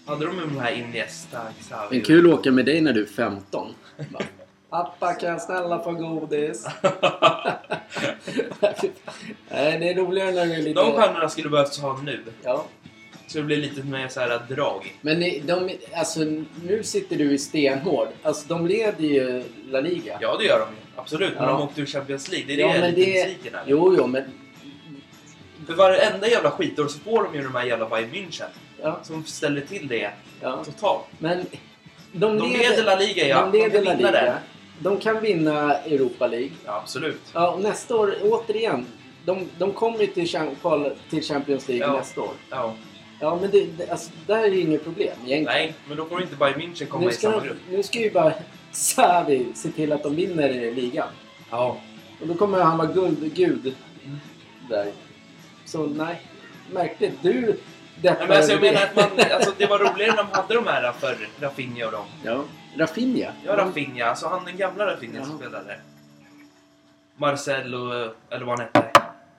Speaker 2: Hade de de här Iniesta, Xavi...
Speaker 3: Men kul att åka med dig när du är 15. Bara, [LAUGHS] Pappa kan jag snälla få godis? [LAUGHS] Nej, det är roligare när du är lite...
Speaker 2: De stjärnorna skulle behövas ha nu.
Speaker 3: ja.
Speaker 2: Så det blir lite mer så här drag.
Speaker 3: Men ni- de, alltså, nu sitter du i stenhård. Alltså, de leder ju La Liga.
Speaker 2: Ja, det gör de ju. Absolut. Men
Speaker 3: Ja.
Speaker 2: de åkte ur Champions League. Det är det jag är lite besviken över.
Speaker 3: Jo, jo, men...
Speaker 2: För varenda jävla skitår så får de ju de här jävla Bayern München.
Speaker 3: Ja,
Speaker 2: Som ställer till det
Speaker 3: ja.
Speaker 2: totalt.
Speaker 3: Men de,
Speaker 2: De leder La Liga, ja.
Speaker 3: De leder
Speaker 2: kan
Speaker 3: La
Speaker 2: vinna
Speaker 3: Liga.
Speaker 2: den.
Speaker 3: De kan vinna Europa League.
Speaker 2: Ja, absolut.
Speaker 3: Ja, och nästa år, återigen. De, de kommer ju till, Cham- kval- till Champions League
Speaker 2: Ja.
Speaker 3: nästa år.
Speaker 2: Ja.
Speaker 3: Ja, men det, det, alltså, där är ju inget problem egentligen.
Speaker 2: Nej, men då får inte Bayern München komma
Speaker 3: nu,
Speaker 2: i
Speaker 3: ska
Speaker 2: samma
Speaker 3: de,
Speaker 2: grupp.
Speaker 3: nu ska ju bara [LAUGHS] Xavi se till att de vinner i ligan.
Speaker 2: Ja.
Speaker 3: Och då kommer han vara guld, gud där. Så nej, märkligt. Du deppar
Speaker 2: Nej, men alltså, jag
Speaker 3: över
Speaker 2: menar
Speaker 3: det.
Speaker 2: att man, alltså, det var roligare när de hade de här förr. Rafinha och dem.
Speaker 3: Ja, Rafinha.
Speaker 2: Ja, Rafinha. Alltså han den gamla Rafinha som
Speaker 3: Ja.
Speaker 2: spelade. Marcello, eller vad han hette.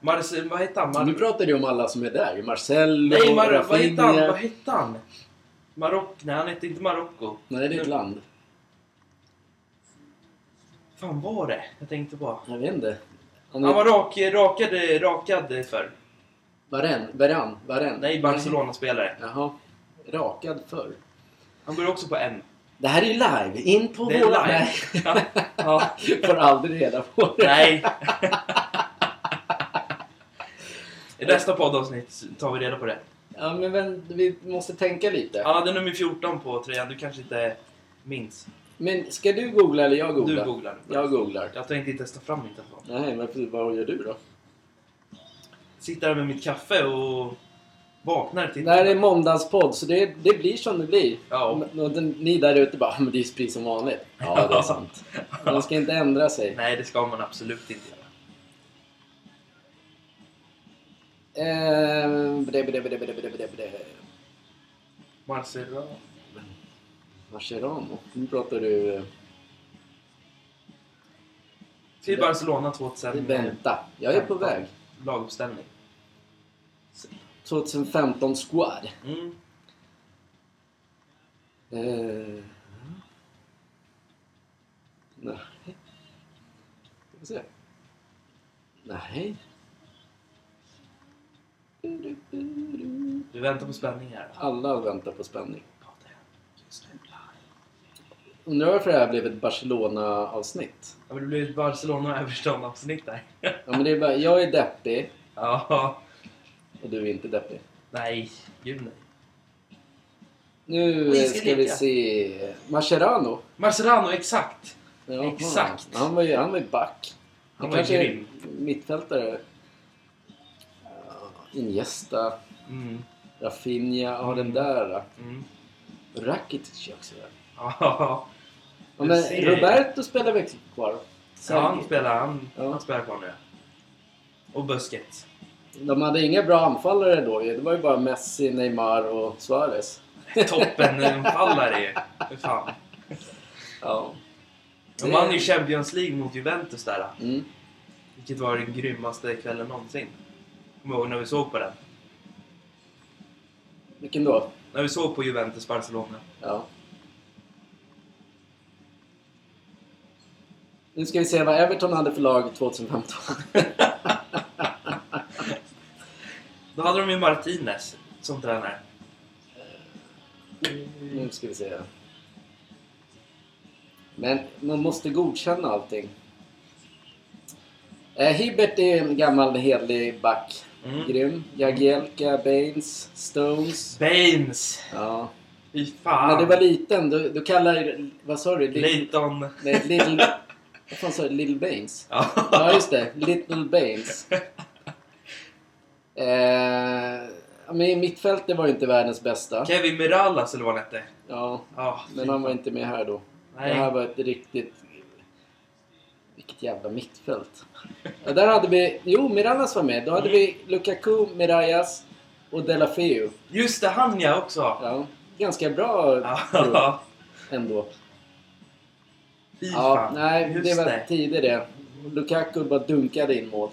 Speaker 2: Marce, vad hette han? Mar-
Speaker 3: Nu pratar du om alla som är där. Marcello,
Speaker 2: Nej, Mar- vad hette han? Vad
Speaker 3: Rafinha.
Speaker 2: hette han? Marock... Nej, han hette inte Marocko.
Speaker 3: Nej, det är ett land.
Speaker 2: fan var det? Jag tänkte på.
Speaker 3: Jag vet inte. Han
Speaker 2: Han var
Speaker 3: är...
Speaker 2: rak, rakad, rakad förr.
Speaker 3: Varann, Varann, Varann.
Speaker 2: Nej, Barcelona-spelare.
Speaker 3: Jaha. Rakad förr.
Speaker 2: Han går också på M.
Speaker 3: Det här är ju live! In på
Speaker 2: Det är
Speaker 3: våra...
Speaker 2: live. Ja.
Speaker 3: Ja, [LAUGHS] får aldrig reda på det.
Speaker 2: Nej. [LAUGHS] I nästa poddavsnitt tar vi reda på det.
Speaker 3: Ja, men vän, vi måste tänka lite.
Speaker 2: Han hade nummer 14 på tröjan. Du kanske inte minns.
Speaker 3: Men ska du googla eller jag googlar?
Speaker 2: Du googlar.
Speaker 3: Jag googlar.
Speaker 2: Jag tänkte inte ens ta fram min telefon.
Speaker 3: Nej, men för- vad gör du då?
Speaker 2: Sitter här med mitt kaffe och vaknar till.
Speaker 3: Det här är måndagspodd, så det, det blir som det blir.
Speaker 2: Ja.
Speaker 3: Men- Och den, ni där ute bara, "Ah, men det är ju precis som vanligt. Ja, det är sant. Man ska inte ändra sig.
Speaker 2: Nej, det ska man absolut inte göra.
Speaker 3: Ehm, bre, bre, bre, bre, bre, bre, bre.
Speaker 2: Marcelo.
Speaker 3: Mascherano. Nu pratar du... eh,
Speaker 2: Till Barcelona
Speaker 3: Vänta, jag är på
Speaker 2: 2015.
Speaker 3: väg.
Speaker 2: Laguppställning.
Speaker 3: 2015 squad.
Speaker 2: Mm.
Speaker 3: Eh, Nej. Ska vi se. Nej.
Speaker 2: Du väntar på spänning här.
Speaker 3: Alla väntar på spänning. Undrar varför det här blev ett Barcelona-avsnitt?
Speaker 2: Ja, men det blir ett Barcelona och Everton-avsnitt där. [LAUGHS]
Speaker 3: Ja, men det är bara, jag är deppig
Speaker 2: ja.
Speaker 3: och du är inte deppig.
Speaker 2: Nej, gud nej.
Speaker 3: Nu
Speaker 2: Vi
Speaker 3: eh,
Speaker 2: ska
Speaker 3: ska vi
Speaker 2: leka.
Speaker 3: se... Mascherano.
Speaker 2: Mascherano, exakt!
Speaker 3: Jaha.
Speaker 2: Exakt.
Speaker 3: Han var ju, han var ju back.
Speaker 2: Han
Speaker 3: Det
Speaker 2: var
Speaker 3: kanske är
Speaker 2: grym.
Speaker 3: Mittfältare. Ja, Iniesta.
Speaker 2: Mm.
Speaker 3: Rafinha, ja den där.
Speaker 2: Mm.
Speaker 3: Rakitic också. där.
Speaker 2: Ja,
Speaker 3: Ja,
Speaker 2: Du
Speaker 3: men
Speaker 2: ser.
Speaker 3: Roberto spelar väl kvar?
Speaker 2: ja, han spelar, han,
Speaker 3: Ja.
Speaker 2: han spelar kvar nu. Och Busquets.
Speaker 3: De hade inga bra anfallare då ju. Det var ju bara Messi, Neymar och Suarez.
Speaker 2: Toppenanfallare ju. Fy fan.
Speaker 3: Ja.
Speaker 2: De vann ju Champions League mot Juventus där.
Speaker 3: Mm.
Speaker 2: Vilket var den grymmaste kvällen någonsin. Kommer ihåg när vi såg på den?
Speaker 3: Vilken då?
Speaker 2: När vi såg på Juventus Barcelona.
Speaker 3: Ja. Nu ska vi se vad Everton hade för lag 2015.
Speaker 2: Då hade de ju Martinez som tränare.
Speaker 3: [LAUGHS] nu ska vi se. Men man måste godkänna allting. Eh, Hibbert är en gammal hederlig back.
Speaker 2: Mm.
Speaker 3: Grym. Jagielka, Baines, Stones.
Speaker 2: Baines!
Speaker 3: Ja.
Speaker 2: Fy fan!
Speaker 3: När du var liten, du, du kallade... Vad sa du? Lil-
Speaker 2: Leighton.
Speaker 3: Nej, Little... Vad fan sa du? Little Baines? [LAUGHS]
Speaker 2: Ja.
Speaker 3: Ja, just det. Little Baines. Eh, ja, men mittfältet var ju inte världens bästa.
Speaker 2: Kevin Mirallas eller vad han hette.
Speaker 3: Ja,
Speaker 2: Ja,
Speaker 3: men han var inte med här då. Det här
Speaker 2: Nej.
Speaker 3: var ett riktigt... Vilket jävla mittfält. Ja, där hade vi... Jo, Mirallas var med. Då hade vi Lukaku, Mirallas och Delafeu.
Speaker 2: Just det, han ja också!
Speaker 3: Ja, ganska bra tror,
Speaker 2: [LAUGHS] Ja,
Speaker 3: ändå.
Speaker 2: fy
Speaker 3: Ja,
Speaker 2: fan.
Speaker 3: nej,
Speaker 2: Just
Speaker 3: det var tidigt det. Lukaku bara dunkade in
Speaker 2: [LAUGHS]
Speaker 3: mål.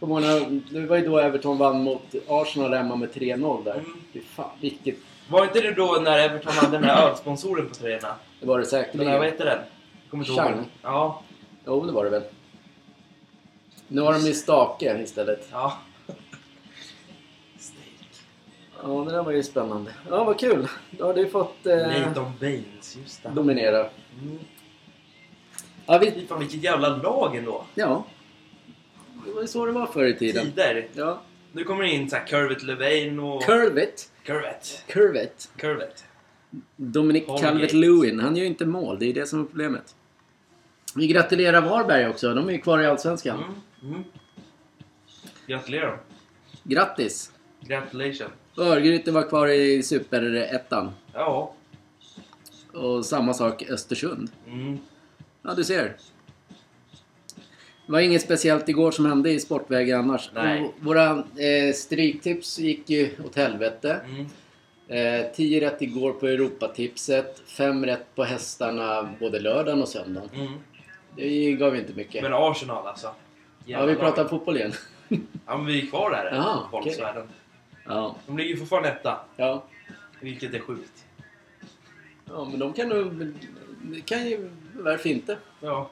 Speaker 3: På morgonen, det var ju då Everton vann mot Arsenal hemma med 3-0 där.
Speaker 2: Mm.
Speaker 3: Fy fan, vilket...
Speaker 2: Var inte det då när Everton hade den här ölsponsoren på tröjorna?
Speaker 3: Det var det
Speaker 2: Den här, vad
Speaker 3: säkerligen.
Speaker 2: heter den? Kommer inte ihåg.
Speaker 3: Chang.
Speaker 2: Ja,
Speaker 3: Jo, det var det väl. Nu har de ju stake istället.
Speaker 2: ja.
Speaker 3: Ja, det där var ju spännande. Ja, vad kul. Då har du fått eh,
Speaker 2: Nathan Baines, just det.
Speaker 3: dominera.
Speaker 2: Mm.
Speaker 3: Ja, vi,
Speaker 2: Fy fan vilket jävla lag ändå.
Speaker 3: ja, det var ju så det var förr i tiden.
Speaker 2: Tider.
Speaker 3: Ja.
Speaker 2: Nu kommer det in så här Curvet Levain och...
Speaker 3: Curvet.
Speaker 2: Curvet.
Speaker 3: Curvet.
Speaker 2: Curvet.
Speaker 3: Dominic
Speaker 2: Holgate.
Speaker 3: Calvert-Lewin, han gör ju inte mål. Det är det som är problemet. Vi gratulerar Varberg också. De är ju kvar i Allsvenskan.
Speaker 2: Mm. Mm. Gratulerar.
Speaker 3: Grattis!
Speaker 2: Gratulation.
Speaker 3: Örgryte var kvar i Superettan.
Speaker 2: Ja.
Speaker 3: Och samma sak Östersund.
Speaker 2: Mm.
Speaker 3: Ja, du ser. Det var inget speciellt igår som hände i Sportvägen annars.
Speaker 2: Nej.
Speaker 3: Och Våra eh, stryktips gick ju åt helvete.
Speaker 2: Mm.
Speaker 3: Eh, 10 rätt igår på Europatipset. 5 rätt på hästarna både lördagen och söndagen.
Speaker 2: Mm.
Speaker 3: Det gav ju inte mycket.
Speaker 2: Men Arsenal alltså.
Speaker 3: ja, vi pratar fotboll igen.
Speaker 2: Ja, men vi är kvar där.
Speaker 3: Jaha,
Speaker 2: i Folksvärlden.
Speaker 3: ja.
Speaker 2: De ligger ju fortfarande etta.
Speaker 3: Ja.
Speaker 2: Vilket är sjukt.
Speaker 3: ja, men de kan nog... det kan ju... Varför inte?
Speaker 2: Ja.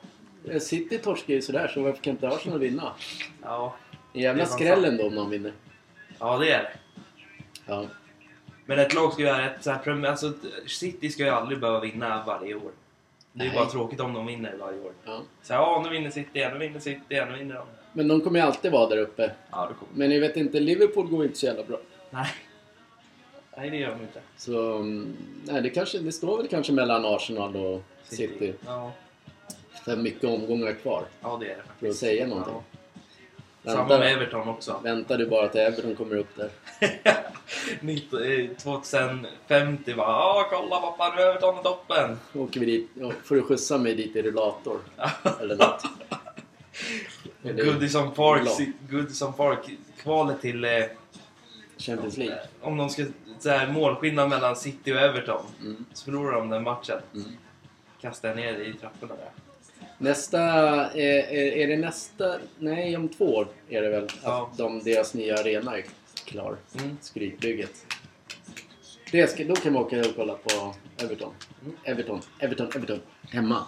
Speaker 3: Eh, City torskar ju sådär, så varför kan inte Arsenal vinna?
Speaker 2: Ja.
Speaker 3: En
Speaker 2: Det
Speaker 3: jävla
Speaker 2: är fan
Speaker 3: skräll
Speaker 2: sant.
Speaker 3: ändå om de vinner.
Speaker 2: Ja, det är det.
Speaker 3: Ja.
Speaker 2: Men ett lag ska ju göra ett så här, prem- alltså ett- City ska ju aldrig behöva vinna varje år. Det är ju
Speaker 3: Nej.
Speaker 2: bara tråkigt om de vinner varje år.
Speaker 3: ja.
Speaker 2: Så här, ja, nu vinner City igen, nu vinner City igen, nu vinner de.
Speaker 3: Men de kommer ju alltid vara där uppe.
Speaker 2: Ja, det kommer.
Speaker 3: Men ni vet inte, Liverpool går inte så jävla bra.
Speaker 2: Nej. Nej, det gör de inte.
Speaker 3: Så mm, nej, det, kanske, det står väl kanske mellan Arsenal och City.
Speaker 2: Ja.
Speaker 3: För mycket omgångar kvar.
Speaker 2: ja, det är det faktiskt.
Speaker 3: För att säga någonting.
Speaker 2: Ja. Samma
Speaker 3: Vänta.
Speaker 2: med Everton också. [LAUGHS]
Speaker 3: Väntar du bara till Everton kommer upp där?
Speaker 2: 19, eh, 2050 bara ja, kolla pappa, nu är Everton i toppen. [LAUGHS]
Speaker 3: Åker vi dit, ja, får du skjutsa mig dit i rullator. Eller något. Eller
Speaker 2: Goodison Park,
Speaker 3: Lång.
Speaker 2: Goodison Park, kvalet till... Eh,
Speaker 3: Champions League.
Speaker 2: om de ska så här, målskillnad mellan City och Everton.
Speaker 3: Mm.
Speaker 2: Så förlorar de den matchen.
Speaker 3: Mm.
Speaker 2: Kastar jag ner dig i trapporna där.
Speaker 3: Nästa, eh, är, är det nästa? Nej, om två år är det väl. Att
Speaker 2: Ja.
Speaker 3: de, deras nya arena är klar.
Speaker 2: Mm.
Speaker 3: Skrytbygget. Det ska, då kan man åka och kolla på Everton.
Speaker 2: Mm.
Speaker 3: Everton, Everton, Everton. Hemma.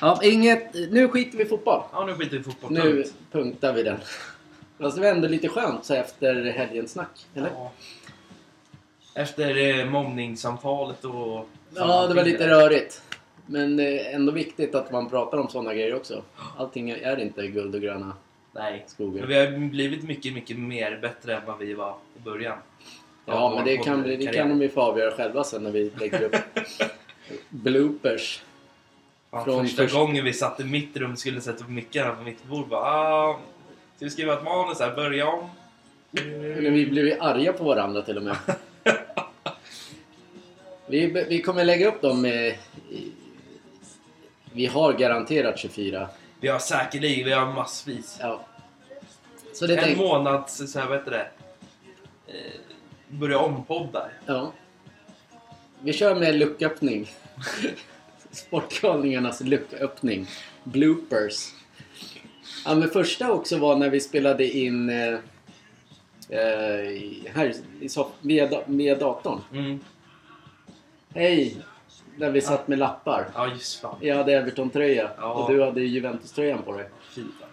Speaker 3: Ja, inget, nu skiter vi i fotboll.
Speaker 2: Ja, nu skiter vi i fotboll.
Speaker 3: Nu
Speaker 2: punkt.
Speaker 3: punktar vi den. Fast det var ändå lite skönt så efter helgens snack. Eller? Ja,
Speaker 2: Ja. Efter eh, mobbningssamtalet och...
Speaker 3: det var lite rörigt. Men det är ändå viktigt att man pratar om sådana grejer också. Allting är inte guld och gröna
Speaker 2: Nej. Men
Speaker 3: skogar.
Speaker 2: vi har blivit mycket, mycket mer bättre än vad vi var i början.
Speaker 3: Ja, men det
Speaker 2: vår
Speaker 3: kan,
Speaker 2: poddkarriär.
Speaker 3: det kan de ju få avgöra själva sen när vi lägger upp bloopers.
Speaker 2: Fan,
Speaker 3: från
Speaker 2: första
Speaker 3: först-
Speaker 2: gången vi satt i mitt rum och skulle sätta upp mickarna på mitt bord bara... Ah, ska vi skriva ett manus här? Börja om?
Speaker 3: Men vi blev ju arga på varandra till och med. vi, vi kommer lägga upp dem... Eh, i, vi har garanterat 24.
Speaker 2: Vi har säkerligen, vi har massvis.
Speaker 3: Ja. Så det typ-
Speaker 2: en
Speaker 3: tänk,
Speaker 2: månads, så här, vad heter det? Eh, börja om-poddar.
Speaker 3: ja. Vi kör med lucköppning. Sportgalningarnas lucköppning. Bloopers. Ja, men första också var när vi spelade in eh, eh, i- här i soff- via, da- via datorn.
Speaker 2: Mm.
Speaker 3: Hej! Där vi satt med lappar.
Speaker 2: Ja, just fan.
Speaker 3: Jag hade Everton-tröja
Speaker 2: Ja.
Speaker 3: och du hade Juventus-tröjan på dig.
Speaker 2: Fy fan.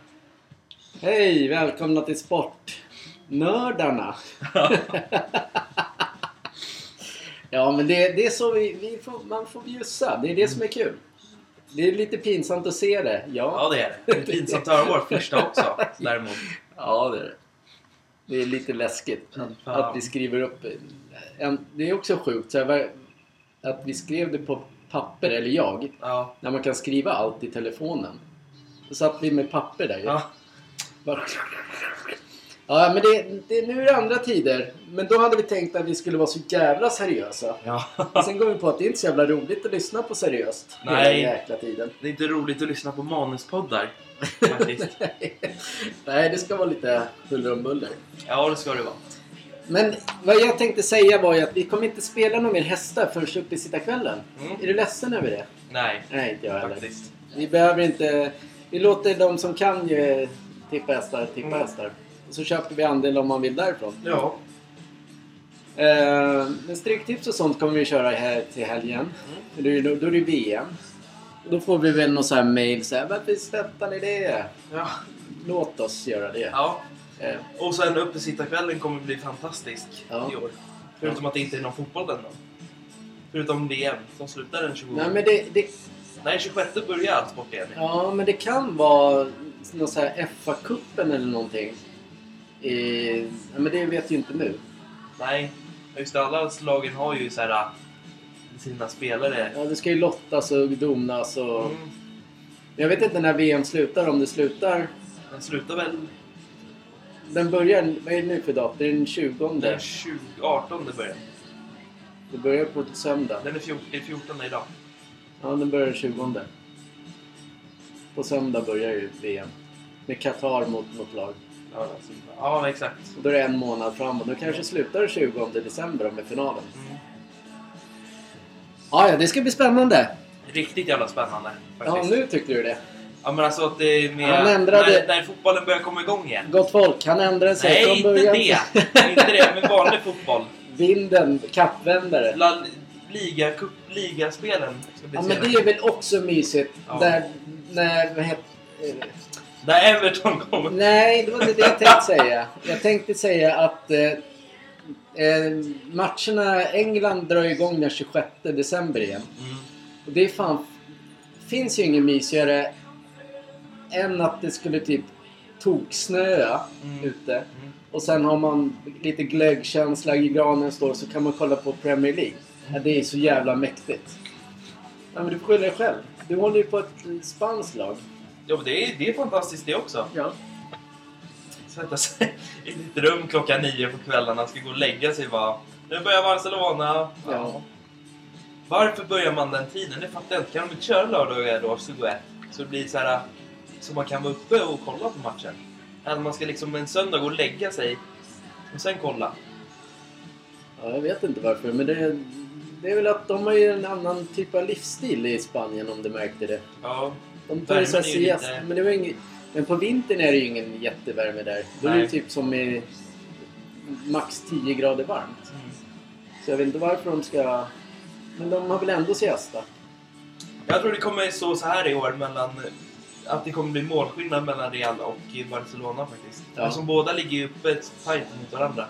Speaker 3: Hej! Välkomna till Sportnördarna! ja, men det, det är så vi, vi får, man får bjussa. Det är det som är kul. Det är lite pinsamt att se det.
Speaker 2: Ja,
Speaker 3: Ja,
Speaker 2: det är det. Det är pinsamt att höra vårt första också, däremot.
Speaker 3: ja det är det. Det är lite läskigt att,
Speaker 2: fan.
Speaker 3: att vi skriver upp... En, det är också sjukt så här, var- att vi skrev det på papper, eller jag,
Speaker 2: Ja.
Speaker 3: när man kan skriva allt i telefonen. Så satt vi med papper där ju.
Speaker 2: ja.
Speaker 3: Bara- Ja, men det, det, nu är det andra tider. Men då hade vi tänkt att vi skulle vara så jävla seriösa.
Speaker 2: Ja.
Speaker 3: Sen går vi på att det är inte så jävla roligt att lyssna på seriöst
Speaker 2: Nej.
Speaker 3: hela jäkla tiden. [LAUGHS]
Speaker 2: Det är inte roligt att lyssna på manuspoddar. Faktiskt.
Speaker 3: Nej, det ska vara lite huller om buller.
Speaker 2: Ja, det ska det vara.
Speaker 3: Men vad jag tänkte säga var ju att vi kommer inte spela några mer hästar förrän uppe i sittarkvällen.
Speaker 2: Mm.
Speaker 3: Är du ledsen över det?
Speaker 2: Nej,
Speaker 3: Nej, inte jag heller.
Speaker 2: faktiskt.
Speaker 3: Vi behöver inte... Vi låter de som kan ju tippa hästar, tippa
Speaker 2: Mm.
Speaker 3: hästar. Och så köper vi andel om man vill därifrån.
Speaker 2: Ja.
Speaker 3: Eh, men stryktips och sånt kommer vi köra här till helgen.
Speaker 2: Mm.
Speaker 3: Då är det- Då är det VM. Då får vi väl någon sån här mail så här, Varför stöttar ni det?
Speaker 2: Ja.
Speaker 3: Låt oss göra det.
Speaker 2: ja.
Speaker 3: Eh,
Speaker 2: Och sen uppesittarkvällen kommer bli fantastisk
Speaker 3: Ja.
Speaker 2: i år. Förutom att det inte är någon fotboll ännu. Förutom VM som slutar den 20...
Speaker 3: nej, men det, det,
Speaker 2: Nej, 26 börjar allt sport E. igen.
Speaker 3: ja, men det kan vara någon sån här FA-cupen eller någonting. Eh, ja, men det vet ju inte nu.
Speaker 2: Nej, just det, alla lagen har ju så här äh, sina spelare.
Speaker 3: Ja, det ska ju lottas och domnas och...
Speaker 2: Mm.
Speaker 3: Jag vet inte när VM slutar, om det slutar...
Speaker 2: Den slutar väl
Speaker 3: Den börjar... Vad är det nu för datum? Det är den 20.
Speaker 2: den 20, 18 det börjar.
Speaker 3: Det börjar på söndag.
Speaker 2: Den är 14, det är 14 idag.
Speaker 3: Ja, den börjar den 20. På söndag börjar ju VM. Med Qatar mot något lag.
Speaker 2: Ja, alltså, ja exakt.
Speaker 3: Och då är det en månad framåt. Då kanske slutar den 20 december med finalen.
Speaker 2: Mm.
Speaker 3: Ja, ja, det ska bli spännande.
Speaker 2: Riktigt jävla spännande
Speaker 3: Ja,
Speaker 2: faktiskt.
Speaker 3: nu tyckte du det.
Speaker 2: Ja, men alltså att det är mer...
Speaker 3: Han ändrade-
Speaker 2: När, när fotbollen börjar komma igång igen.
Speaker 3: Gott folk, han ändrade sig
Speaker 2: Nej,
Speaker 3: från
Speaker 2: inte
Speaker 3: början.
Speaker 2: det! inte det, men vanlig fotboll.
Speaker 3: Vinden, kappvändare.
Speaker 2: La, liga, cup, ligaspelen ska bli
Speaker 3: Ja, men
Speaker 2: senare.
Speaker 3: det är väl också mysigt.
Speaker 2: Ja.
Speaker 3: Där, när, vad heter,
Speaker 2: Där Everton kommer. Mm,
Speaker 3: Nej, det var inte det jag tänkte säga. Jag tänkte säga att eh, eh, matcherna, England drar igång den 26 december igen.
Speaker 2: Mm.
Speaker 3: Och det är fan, finns ju ingen mysigare än att det skulle typ toksnöa
Speaker 2: Mm.
Speaker 3: ute.
Speaker 2: Mm.
Speaker 3: Och sen har man lite glöggkänsla, i granen står så kan man kolla på Premier League. Ja, det är så jävla mäktigt. Ja, men du får skylla dig själv. Du håller ju på ett eh, spanskt lag.
Speaker 2: Ja, men det är, det är fantastiskt det också.
Speaker 3: Ja.
Speaker 2: [LAUGHS] Sätta sig i sitt rum klockan nio på kvällen. Han ska gå och lägga sig bara. Nu börjar Barcelona.
Speaker 3: Ja.
Speaker 2: Varför börjar man den tiden? Det fattar jag inte. Kan de inte köra lördagar då 21? Så det blir så här. Så man kan vara uppe och kolla på matchen. Eller man ska liksom en söndag gå och lägga sig. Och sen kolla.
Speaker 3: Ja, jag vet inte varför, men det, det är väl att de har ju en annan typ av livsstil i Spanien om du märkte det.
Speaker 2: Ja.
Speaker 3: De tar ju så här
Speaker 2: Värmen är ju
Speaker 3: siesta,
Speaker 2: lite-
Speaker 3: men det var inget, Men på vintern är det ju ingen jättevärme där. Då är det ju
Speaker 2: Nej.
Speaker 3: typ som i max 10 grader varmt.
Speaker 2: Mm.
Speaker 3: Så jag vet inte varför de ska... Men de har väl ändå siesta?
Speaker 2: Jag tror det kommer så så här i år mellan... Att det kommer bli målskillnad mellan Real och Barcelona faktiskt.
Speaker 3: Ja.
Speaker 2: Eftersom båda ligger ju uppe tajt mot varandra.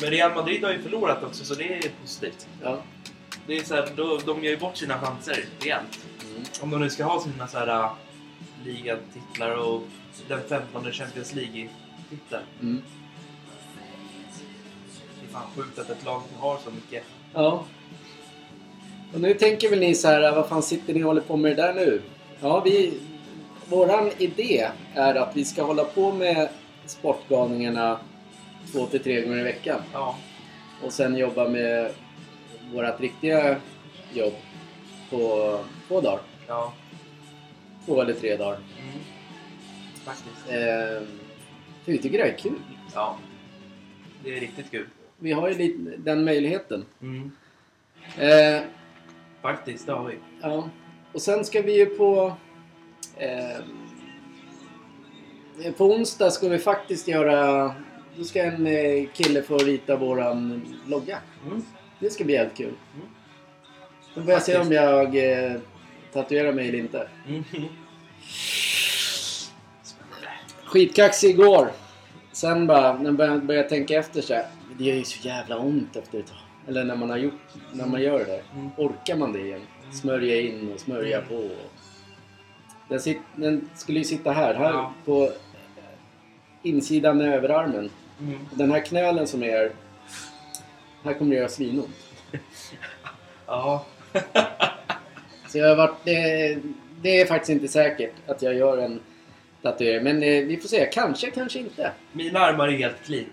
Speaker 2: Men Real Madrid har ju förlorat också så det är positivt.
Speaker 3: Ja.
Speaker 2: Det är så här, då, de gör ju bort sina chanser rejält.
Speaker 3: Mm.
Speaker 2: Om de nu ska ha sina så här, äh, ligatitlar och den 15 Champions League-titeln.
Speaker 3: Mm.
Speaker 2: Det är fan sjukt att ett lag har så mycket.
Speaker 3: Ja. Och nu tänker väl ni så här, vad fan sitter ni och håller på med det där nu? Ja, vi... Våran idé är att vi ska hålla på med Sportgalningarna två till tre gånger i veckan.
Speaker 2: Ja.
Speaker 3: Och sen jobba med vårat riktiga jobb på två dagar.
Speaker 2: Ja.
Speaker 3: Två eller tre dagar.
Speaker 2: Mm. Faktiskt.
Speaker 3: Eh, för vi tycker det är kul.
Speaker 2: Ja. Det är riktigt kul.
Speaker 3: Vi har ju lite den möjligheten.
Speaker 2: Mm.
Speaker 3: Eh,
Speaker 2: Faktiskt, det har vi.
Speaker 3: Ja. Och sen ska vi ju på... Eh, på onsdag ska vi faktiskt göra... Då ska en eh, kille få rita våran logga.
Speaker 2: Mm.
Speaker 3: Det ska bli jävligt kul.
Speaker 2: Mm.
Speaker 3: Då får jag se om
Speaker 2: Faktiskt.
Speaker 3: jag eh, tatuerar mig eller inte.
Speaker 2: Mm. Spännande.
Speaker 3: Skitkaxig igår. Sen bara, när jag började- började tänka efter så här, Det gör ju så jävla ont efter ett tag. Eller när man har gjort, när man gör det.
Speaker 2: Mm.
Speaker 3: Orkar man det igen? Smörja in och smörja
Speaker 2: Mm.
Speaker 3: på. och- Den, sit, den skulle ju sitta här, här
Speaker 2: Ja.
Speaker 3: på eh, insidan av överarmen.
Speaker 2: Mm.
Speaker 3: Den här knölen som är här kommer det göra svinont.
Speaker 2: Ja.
Speaker 3: Så jag har varit, det, det är faktiskt inte säkert att jag gör en tatuering. Men eh, vi får se. Kanske, kanske inte.
Speaker 2: Mina armar är helt clean.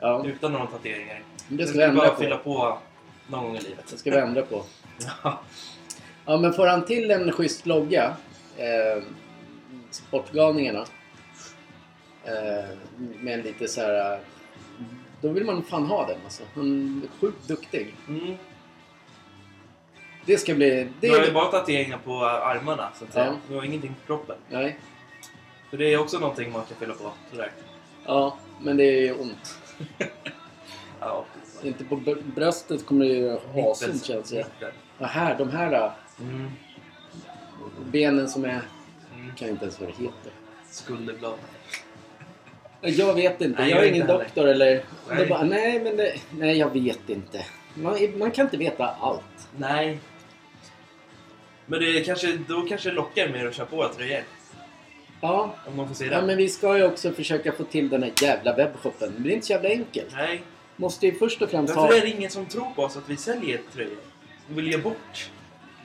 Speaker 3: Ja,
Speaker 2: Utan några tatueringar.
Speaker 3: men det
Speaker 2: Jag
Speaker 3: ska vi ändra
Speaker 2: bara
Speaker 3: på.
Speaker 2: fylla på någon gång i livet.
Speaker 3: Det ska vi ändra på. Ja, men får han till en schysst logga, eh, Sportgalningarna, eh, med lite så här... eh, Då vill man fan ha den alltså. Han är sjukt duktig.
Speaker 2: [LAUGHS] Mm.
Speaker 3: Det ska bli... Det
Speaker 2: Du har ju
Speaker 3: är,
Speaker 2: bara tatueringar på armarna så att säga.
Speaker 3: Ja.
Speaker 2: Du har ingenting på kroppen.
Speaker 3: nej.
Speaker 2: För det är också någonting man kan fylla på. Sådär.
Speaker 3: Ja, men det är ju ont.
Speaker 2: Ja.
Speaker 3: Inte på br- bröstet kommer det ju göra asont
Speaker 2: Nipples.
Speaker 3: känns det.
Speaker 2: Nippel.
Speaker 3: Ja, här, de här eh,
Speaker 2: Mm.
Speaker 3: benen som är...
Speaker 2: Mm.
Speaker 3: kan inte ens vad det heter.
Speaker 2: Skulderblad.
Speaker 3: Jag vet inte.
Speaker 2: Nej,
Speaker 3: jag
Speaker 2: jag
Speaker 3: är
Speaker 2: vet
Speaker 3: ingen
Speaker 2: inte heller.
Speaker 3: doktor eller...
Speaker 2: Nej.
Speaker 3: Nej. Bara, nej, men det, nej, jag vet inte. Man, man kan inte veta allt.
Speaker 2: Nej. Men det är kanske, då kanske det lockar mer att köpa våra tröjor.
Speaker 3: Ja,
Speaker 2: Om man får säga
Speaker 3: ja,
Speaker 2: det.
Speaker 3: men vi ska ju också försöka få till den här jävla webbshoppen. Men Det är inte så jävla enkelt.
Speaker 2: Nej.
Speaker 3: Måste ju först och främst ha...
Speaker 2: Varför är det ingen som tror på oss att vi säljer tröjor? De vill ge bort.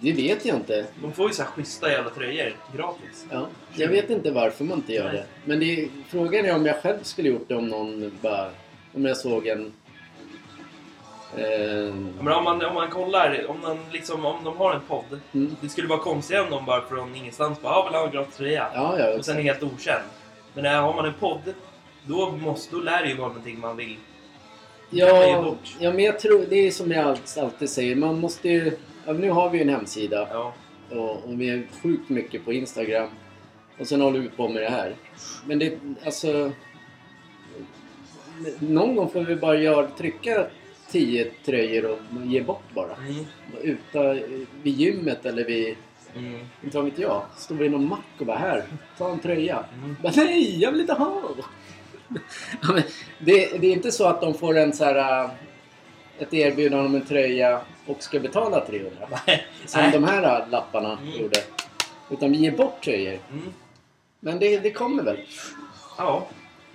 Speaker 3: Det vet jag inte.
Speaker 2: De får ju så här schyssta jävla tröjor gratis.
Speaker 3: Ja, jag vet inte varför man inte gör
Speaker 2: Nej.
Speaker 3: det. Men det är, frågan är om jag själv skulle gjort det om någon bara... Om jag såg en... Eh,
Speaker 2: Ja, Men om man, om man kollar, om, man liksom, om de har en podd.
Speaker 3: mm,
Speaker 2: Det skulle vara konstigt om de bara från ingenstans bara ah, vill ha en gratis tröja.
Speaker 3: ja, ja.
Speaker 2: Och sen är helt okänd. Men när har man en podd, då, måste, då lär det ju vara någonting man vill. kan man ge
Speaker 3: Ja,
Speaker 2: bort.
Speaker 3: ja, men jag tror... Det är som jag allt- alltid säger. Man måste ju... Ja, nu har vi ju en hemsida.
Speaker 2: Ja.
Speaker 3: Och, och vi är sjukt mycket på Instagram. Och sen håller vi på med det här. Men det, alltså... Någon gång får vi bara göra, trycka 10 tröjor och ge bort bara.
Speaker 2: Mm.
Speaker 3: Uta, vid gymmet eller vid,
Speaker 2: Mm.
Speaker 3: inte vad vet jag, står vid någon mack och bara här, ta en tröja.
Speaker 2: Mm.
Speaker 3: Bara, Nej, jag vill inte ha! [LAUGHS] Ja, men det, det är inte så att de får en så här, äh, ett erbjudande om en tröja och ska betala 300.
Speaker 2: Nej.
Speaker 3: Som
Speaker 2: Nej.
Speaker 3: de här äh, lapparna
Speaker 2: Mm.
Speaker 3: gjorde. Utan vi ger bort tröjor.
Speaker 2: Mm.
Speaker 3: Men det, det kommer väl.
Speaker 2: Ja,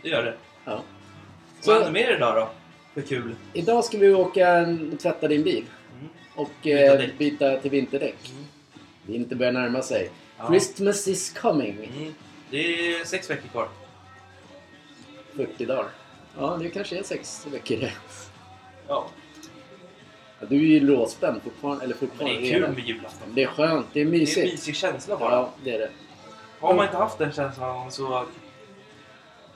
Speaker 2: det gör det.
Speaker 3: Ja. Så-
Speaker 2: Vad händer mer idag då? För kul.
Speaker 3: Idag ska vi åka och tvätta din bil.
Speaker 2: Mm.
Speaker 3: Och
Speaker 2: Byta
Speaker 3: eh,
Speaker 2: däck.
Speaker 3: byta till vinterdäck.
Speaker 2: Mm.
Speaker 3: Vintern börjar närma sig.
Speaker 2: Ja.
Speaker 3: Christmas is coming.
Speaker 2: Mm. Det är sex veckor kvar.
Speaker 3: 40 dagar. Ja, det kanske är sex veckor det.
Speaker 2: Ja.
Speaker 3: Ja, Du är ju låspänd fortfarande. Eller
Speaker 2: Men
Speaker 3: fortfarande.
Speaker 2: det är kul med julafton.
Speaker 3: Men det är skönt. Det är
Speaker 2: Det är en
Speaker 3: mysigt.
Speaker 2: mysig känsla bara.
Speaker 3: Ja, det är det.
Speaker 2: Har man inte haft den känslan så...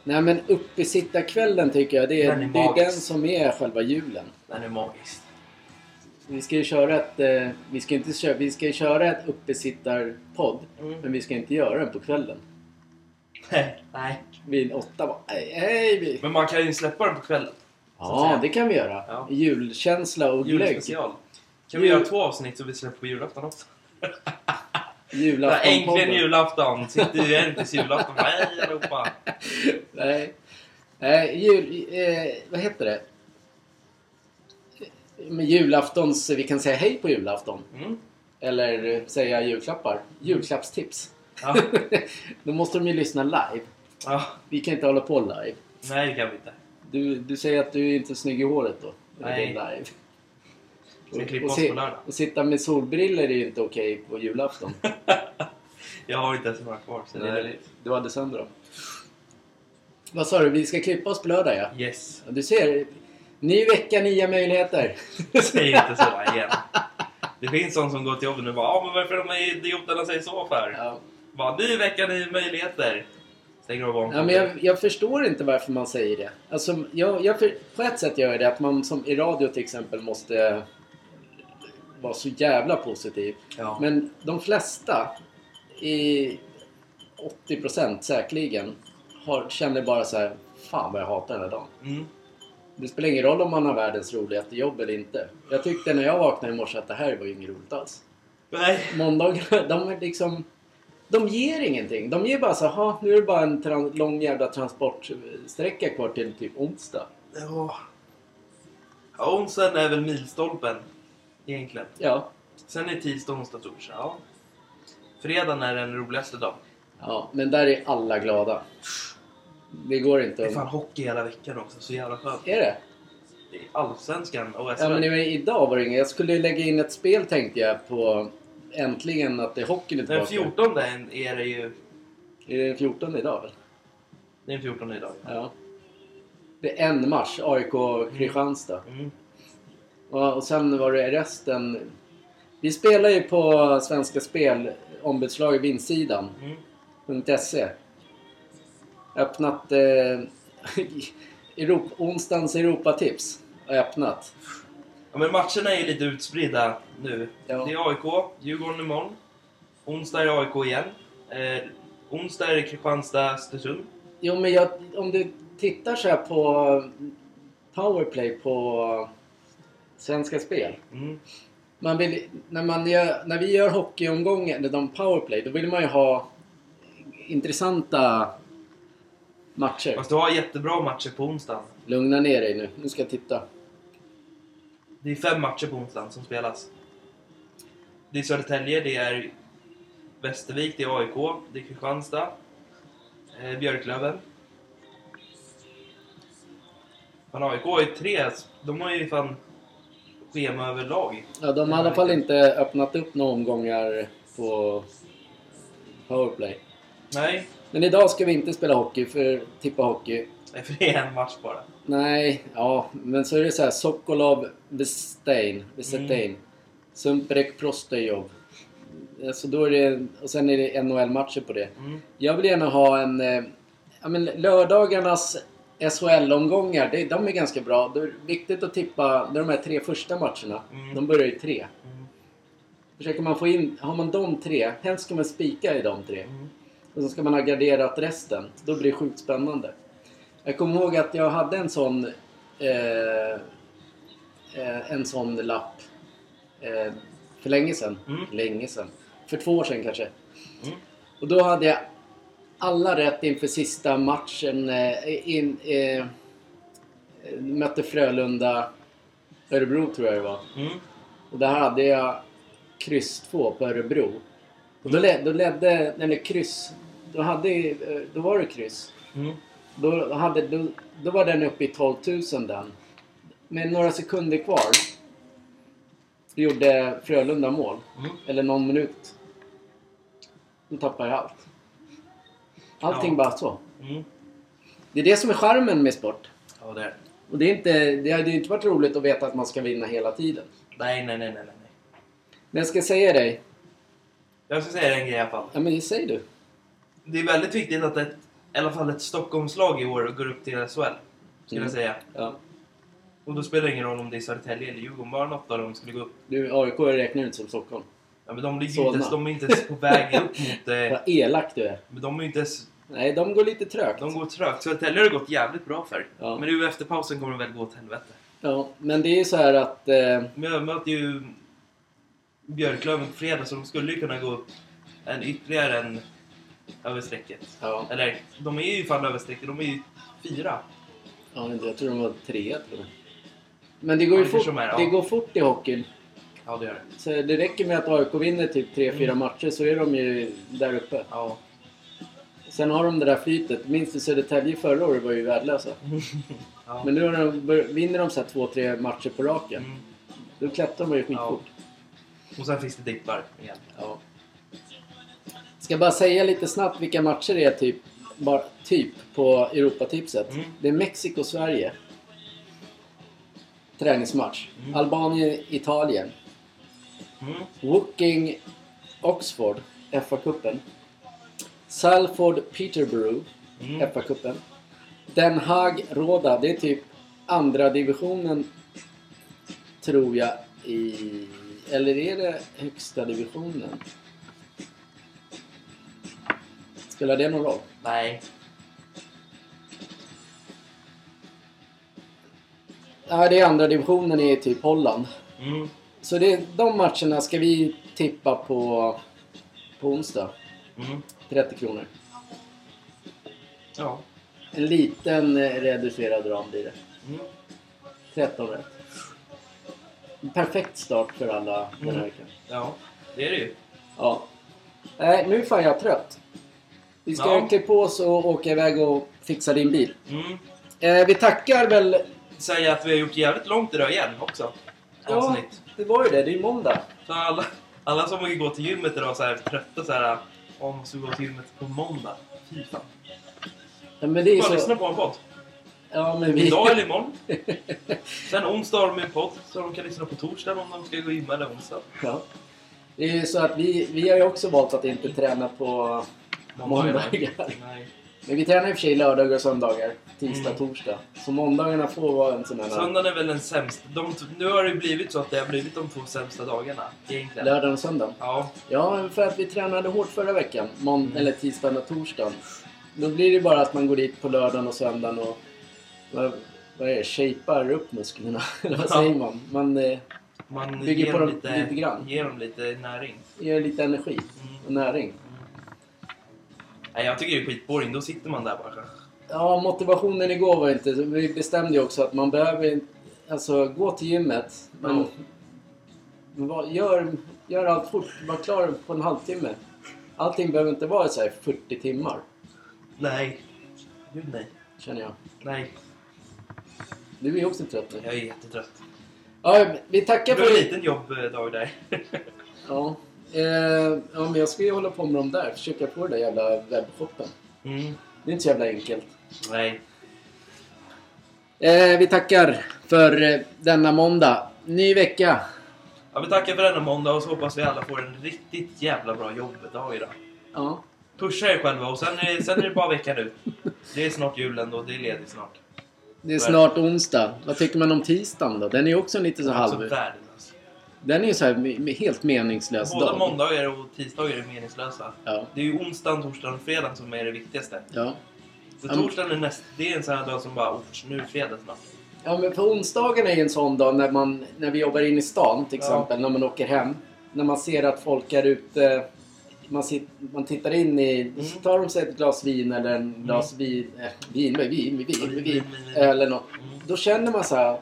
Speaker 3: Nej men uppesittarkvällen tycker jag. Det är,
Speaker 2: Den är
Speaker 3: det är den
Speaker 2: magisk.
Speaker 3: som är själva julen.
Speaker 2: Den är magisk.
Speaker 3: Vi ska ju köra ett... Eh, vi ska inte köra... Vi ska ju köra ett uppesittarpodd.
Speaker 2: Mm.
Speaker 3: Men vi ska inte göra den på kvällen.
Speaker 2: [LAUGHS] Nej.
Speaker 3: Vid åtta bara, nej, hej vi.
Speaker 2: Men man kan ju släppa den på kvällen. så att
Speaker 3: Ja,
Speaker 2: säga.
Speaker 3: det kan vi göra.
Speaker 2: Ja.
Speaker 3: Julkänsla och glögg.
Speaker 2: Julspecial. Kan vi
Speaker 3: Jul-
Speaker 2: göra två avsnitt så vi släpper på julafton också? Äntligen
Speaker 3: Julaftonpodden.
Speaker 2: julafton! Sitter ju en tills julafton. Hej allihopa!
Speaker 3: Nej. Nej, jul... Eh, vad heter det? Med julaftons... Vi kan säga hej på julafton.
Speaker 2: Mm.
Speaker 3: Eller eh, säga julklappar. Julklappstips. [LAUGHS]
Speaker 2: Ja.
Speaker 3: Då måste de ju lyssna live.
Speaker 2: ja.
Speaker 3: Vi kan inte hålla på live.
Speaker 2: Nej, det kan vi inte.
Speaker 3: Du, du säger att du inte är snygg i håret då? när
Speaker 2: Nej.
Speaker 3: Det är live.
Speaker 2: Ska klippa oss på lördag.
Speaker 3: och sitta med solbriller är ju inte okej på
Speaker 2: [LAUGHS]
Speaker 3: julafton.
Speaker 2: Jag har inte ens några kvar så det är
Speaker 3: Nej,
Speaker 2: lugnt.
Speaker 3: du hade sönder dem. Vad sa du? Vi ska klippa oss på lördag ja.
Speaker 2: Yes.
Speaker 3: Ja, Du ser, ny vecka, nya möjligheter.
Speaker 2: Säg inte så igen. Det finns sån som går till jobbet nu och bara ah, men varför de här idioterna säger så för?
Speaker 3: Ja.
Speaker 2: Bara, ny vecka, ny möjligheter. Stänger av om.
Speaker 3: Ja, men jag, jag förstår inte varför man säger det. Alltså, jag, jag för, på ett sätt gör jag det att man som i radio till exempel måste vara så jävla positiv.
Speaker 2: Ja.
Speaker 3: Men de flesta, i 80% säkerligen, har, känner bara så här, fan vad jag hatar den här dagen.
Speaker 2: Mm.
Speaker 3: Det spelar ingen roll om man har världens roligaste jobb eller inte. Jag tyckte när jag vaknade i morse att det här var ju inget roligt alls.
Speaker 2: Nej.
Speaker 3: Måndagar, [LAUGHS] de är liksom... De ger ingenting. De ger bara så här, "Ha, nu är det bara en tran- lång jävla transportsträcka kvar till typ onsdag.
Speaker 2: Ja. Ja, Onsdagen är väl milstolpen. Egentligen.
Speaker 3: Ja.
Speaker 2: Sen är tisdag, onsdag, torsdag. Ja. Fredagen är den roligaste dagen.
Speaker 3: Ja, men där är alla glada. Det går
Speaker 2: Det
Speaker 3: inte
Speaker 2: är fan
Speaker 3: att...
Speaker 2: hockey hela veckan också. Så jävla skönt.
Speaker 3: Är det?
Speaker 2: Det är Allsvenskan och SHL.
Speaker 3: Ja, men det var- idag var det inget. Jag skulle lägga in ett spel tänkte jag på äntligen att det är hockeyn är
Speaker 2: Den
Speaker 3: tillbaka.
Speaker 2: 14 är det ju
Speaker 3: Är det den 14 idag väl?
Speaker 2: Det är den 14 idag.
Speaker 3: Ja. Det är en match, AIK-Kristianstad.
Speaker 2: Mm.
Speaker 3: Och, och sen var det resten... Vi spelar ju på Svenska Spel, ombudslaget Vindsidan.
Speaker 2: Mm.
Speaker 3: .se. Öppnat eh, [LAUGHS] Europa, onsdagens Europatips. Har jag öppnat.
Speaker 2: Ja, men matcherna är lite utspridda nu.
Speaker 3: Ja.
Speaker 2: Det är AIK, Djurgården imorgon. Onsdag är det AIK igen. Eh, onsdag är det Kristianstad, Östersund.
Speaker 3: Jo, men jag, om du tittar så här på powerplay på Svenska Spel.
Speaker 2: Mm.
Speaker 3: Man vill, när, man gör, när vi gör hockeyomgången, eller de powerplay, då vill man ju ha intressanta matcher.
Speaker 2: Fast du har jättebra matcher på onsdagen.
Speaker 3: Lugna ner dig nu. Nu ska jag titta.
Speaker 2: Det är fem matcher på onsdagen som spelas. Det är Södertälje, det är Västervik, det är AIK, det är Kristianstad, eh, Björklöven. Fan, AIK har ju tre... De har ju fan schema överlag.
Speaker 3: Ja, de har i alla fall inte öppnat upp några omgångar på powerplay.
Speaker 2: Nej,
Speaker 3: Men idag ska vi inte spela hockey, för tippa hockey.
Speaker 2: nej, för det är en match bara.
Speaker 3: Nej, ja, men så är det så här Sokolov, Vestein, Vesetein, Sumprek, Prostojov. Alltså då är det, och sen är det NHL-matcher på det.
Speaker 2: Mm.
Speaker 3: Jag vill gärna ha en... eh, Ja, men lördagarnas SHL-omgångar, det- de är ganska bra. Det är viktigt att tippa det är de här tre första matcherna.
Speaker 2: Mm.
Speaker 3: De börjar ju tre.
Speaker 2: Mm.
Speaker 3: Försöker man få in... Har man de tre, helst ska man spika i de tre.
Speaker 2: Mm.
Speaker 3: Och så ska man ha garderat resten. Då blir det sjukt spännande. Jag kommer ihåg att jag hade en sån... Eh, eh, en sån lapp. Eh, för länge sedan.
Speaker 2: Mm.
Speaker 3: Länge sedan. För två år sedan kanske.
Speaker 2: Mm.
Speaker 3: Och då hade jag alla rätt inför sista matchen. Eh, in, eh, mötte Frölunda, Örebro tror jag det var.
Speaker 2: Mm.
Speaker 3: Och där hade jag kryss 2 på Örebro. Och då, led, då ledde, eller kryss, då, hade, eh, då var det kryss.
Speaker 2: Mm.
Speaker 3: Då, hade, då, då var den uppe i 12 000 den. Med några sekunder kvar gjorde Frölunda mål.
Speaker 2: Mm.
Speaker 3: Eller någon minut. Då tappar jag allt. Allting
Speaker 2: Ja.
Speaker 3: bara så.
Speaker 2: Mm.
Speaker 3: Det är det som är charmen med sport.
Speaker 2: Ja, det är det.
Speaker 3: Och det, är inte, det hade ju inte varit roligt att veta att man ska vinna hela tiden.
Speaker 2: Nej, nej, nej, nej, nej. nej.
Speaker 3: Men jag ska säga dig.
Speaker 2: Jag ska säga en grej i alla fall.
Speaker 3: Ja men säg du.
Speaker 2: Det är väldigt viktigt att ett, i alla fall ett Stockholmslag i år går upp till SHL. Skulle
Speaker 3: Mm.
Speaker 2: jag säga.
Speaker 3: Ja.
Speaker 2: Och då spelar det ingen roll om det är Södertälje eller Djurgården, bara något av dem skulle gå upp.
Speaker 3: Du, AIK räknar ut som Stockholm.
Speaker 2: Ja, men de ligger ju
Speaker 3: Solna.
Speaker 2: inte ens, de är inte ens på väg
Speaker 3: [LAUGHS]
Speaker 2: upp mot... Eh,
Speaker 3: Vad elak du är.
Speaker 2: men de är ju inte ens...
Speaker 3: Nej, de går lite trögt.
Speaker 2: De går trögt. Södertälje har det gått jävligt bra för.
Speaker 3: Ja.
Speaker 2: Men nu efter pausen kommer de väl gå åt helvete.
Speaker 3: Ja, men det är ju så här att... Eh,
Speaker 2: Men jag möter ju Björklöven på fredag så de skulle ju kunna gå upp en, ytterligare en över strecket.
Speaker 3: ja,
Speaker 2: Eller, de är ju fan över strecket. De är ju fyra.
Speaker 3: ja, jag tror de var trea till och med. Men det går ju
Speaker 2: Ja, det
Speaker 3: fort,
Speaker 2: kanske de är, ja.
Speaker 3: det går fort i hockeyn.
Speaker 2: Ja, det gör det.
Speaker 3: Så det räcker med att AIK vinner typ 3-4
Speaker 2: Mm.
Speaker 3: matcher så är de ju där uppe.
Speaker 2: Ja.
Speaker 3: Sen har de det där flytet. Minns du Södertälje förra året var ju värdelösa.
Speaker 2: Mm. ja.
Speaker 3: Men nu har de, bör- vinner de så här 2-3 matcher på raken.
Speaker 2: Mm.
Speaker 3: Då klättrar de ju skitfort.
Speaker 2: Och sen finns det dippar igen.
Speaker 3: Ja. Ska bara säga lite snabbt vilka matcher det är typ, bara, typ på Europatipset.
Speaker 2: Mm.
Speaker 3: Det är Mexiko-Sverige. Träningsmatch.
Speaker 2: Mm.
Speaker 3: Albanien-Italien.
Speaker 2: Mm.
Speaker 3: Woking Oxford, FA-cupen. Salford Peterborough,
Speaker 2: Mm.
Speaker 3: FA-cupen. Den Haag Råda, det är typ andra divisionen tror jag i... Eller är det högsta divisionen? Spelar det någon roll?
Speaker 2: Nej.
Speaker 3: Ja, det är andra divisionen i typ Holland.
Speaker 2: Mm.
Speaker 3: Så det, de matcherna ska vi tippa på, på onsdag.
Speaker 2: Mm.
Speaker 3: 30 kronor.
Speaker 2: Ja.
Speaker 3: En liten eh, reducerad ram blir det.
Speaker 2: Mm.
Speaker 3: 13 rätt. En perfekt start för alla den här
Speaker 2: Mm.
Speaker 3: veckan.
Speaker 2: Ja, det är det ju.
Speaker 3: Ja. Nej, nu är fan jag trött. Vi ska
Speaker 2: Ja.
Speaker 3: klä på oss och åka iväg och fixa din bil.
Speaker 2: Mm.
Speaker 3: Eh, vi tackar väl...
Speaker 2: Säga att vi har gjort jävligt långt idag igen också. Avsnitt.
Speaker 3: det var ju det. Det är ju måndag.
Speaker 2: Så alla, alla som vill gå till gymmet idag så här trötta så här. om vad som går till med på måndag. Fy fan.
Speaker 3: Ja, men det är
Speaker 2: Bara lyssna
Speaker 3: så...
Speaker 2: på en podd.
Speaker 3: Ja, men vi...
Speaker 2: Idag eller imorgon. Sen onsdag har de en podd så de kan lyssna på torsdag om de ska gå in eller onsdag.
Speaker 3: [LAUGHS] Ja. Det är ju så att vi, vi har ju också valt att inte träna på måndagar.
Speaker 2: Nej.
Speaker 3: Men vi tränar i och för sig lördagar och söndagar. Tisdag,
Speaker 2: Mm.
Speaker 3: torsdag. Så måndagarna får vara en sån här...
Speaker 2: Söndagen är väl den sämsta. De, t- nu har det blivit så att det har blivit de två sämsta dagarna egentligen.
Speaker 3: Lördagen och söndagen.
Speaker 2: Ja,
Speaker 3: Ja, för att vi tränade hårt förra veckan. Månd-
Speaker 2: Mm.
Speaker 3: Eller tisdagen och torsdagen. Då blir det bara att man går dit på lördagen och söndagen och... Vad, vad är det? Shapar upp musklerna. [LAUGHS] Eller vad
Speaker 2: Ja.
Speaker 3: säger man? Man eh,
Speaker 2: man
Speaker 3: Bygger
Speaker 2: ger
Speaker 3: på
Speaker 2: dem
Speaker 3: dem
Speaker 2: lite,
Speaker 3: lite grann.
Speaker 2: ger dem lite näring.
Speaker 3: ger lite energi och
Speaker 2: Mm.
Speaker 3: näring.
Speaker 2: Nej, jag tycker det är skitboring. Då sitter man där bara.
Speaker 3: Ja, motivationen igår var inte... Vi bestämde ju också att man behöver alltså, gå till gymmet. Men,
Speaker 2: Ja.
Speaker 3: men vad- gör, gör allt fort. Var klar på en halvtimme. Allting behöver inte vara så här 40 timmar,
Speaker 2: Nej. Gud nej.
Speaker 3: känner jag.
Speaker 2: Nej,
Speaker 3: Du är ju också trött nu.
Speaker 2: jag är jättetrött.
Speaker 3: Ja, vi
Speaker 2: Det
Speaker 3: tackar
Speaker 2: var en
Speaker 3: för...
Speaker 2: liten jobbdag eh, där. [LAUGHS]
Speaker 3: Ja. Eh, ja, men jag ska ju hålla på med dem där. Försöka få den där jävla webbshoppen.
Speaker 2: Mm.
Speaker 3: Det är inte så jävla enkelt.
Speaker 2: Nej.
Speaker 3: Eh, vi tackar för eh, denna måndag. Ny vecka.
Speaker 2: Ja, vi tackar för denna måndag och så hoppas vi alla får en riktigt jävla bra jobbdag idag.
Speaker 3: Ja.
Speaker 2: Pusha er själva och sen är, sen är det bara veckan ut. Det är snart jul ändå, det är ledigt snart.
Speaker 3: Det är snart onsdag. Vad tycker man om tisdagen då? Den är ju också lite så
Speaker 2: Alltså
Speaker 3: halv...
Speaker 2: världen alltså.
Speaker 3: Den är ju så här me- me- helt meningslös
Speaker 2: Båda
Speaker 3: Alltså, dag.
Speaker 2: måndagar och tisdagar är meningslösa.
Speaker 3: Ja.
Speaker 2: Det är ju onsdagen, torsdagen och fredagen som är det viktigaste.
Speaker 3: Ja.
Speaker 2: Så
Speaker 3: Ja, men-
Speaker 2: torsdagen är näst, det är en sån här dag som bara, oh, nu är det fredag snart.
Speaker 3: ja, men på onsdagen är ju en sån dag när, man, när vi jobbar in i stan till
Speaker 2: Ja.
Speaker 3: exempel, när man åker hem. När man ser att folk är ute, man, sit, man tittar in i, så tar de sig ett glas vin eller en glas vin, eh, vin, vin, vin, vin, vin, vin, vin, eller något.
Speaker 2: Mm.
Speaker 3: Då känner man så här,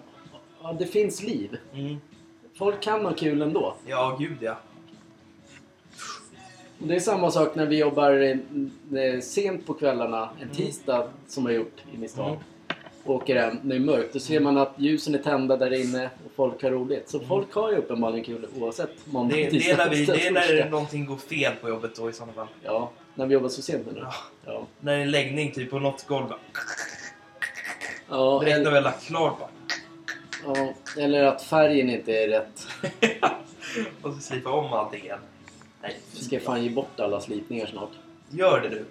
Speaker 3: ja det finns liv.
Speaker 2: Mm.
Speaker 3: Folk kan ha kul ändå.
Speaker 2: Ja, gud ja.
Speaker 3: Och Det är samma sak när vi jobbar eh, eh, sent på kvällarna en tisdag som vi har gjort inne i stan.
Speaker 2: Mm.
Speaker 3: Och åker hem när det är mörkt. Då ser man att ljusen är tända där inne och folk har roligt. Så folk har ju uppenbarligen kul oavsett måndag,
Speaker 2: Mm. Det, det är när, vi, det är när
Speaker 3: [LAUGHS] torsdag.
Speaker 2: någonting går fel på jobbet då i sådana fall.
Speaker 3: Ja, när vi jobbar så sent nu.
Speaker 2: Ja.
Speaker 3: Ja.
Speaker 2: När det är läggning typ på något golv. bara,
Speaker 3: Ja,
Speaker 2: Direkt när
Speaker 3: eller,
Speaker 2: vi har lagt klart bara.
Speaker 3: ja, eller att färgen inte är rätt.
Speaker 2: Och så slipa om allting igen. Nej,
Speaker 3: Vi ska fan ge bort alla slitningar snart. [LAUGHS]
Speaker 2: gör det du.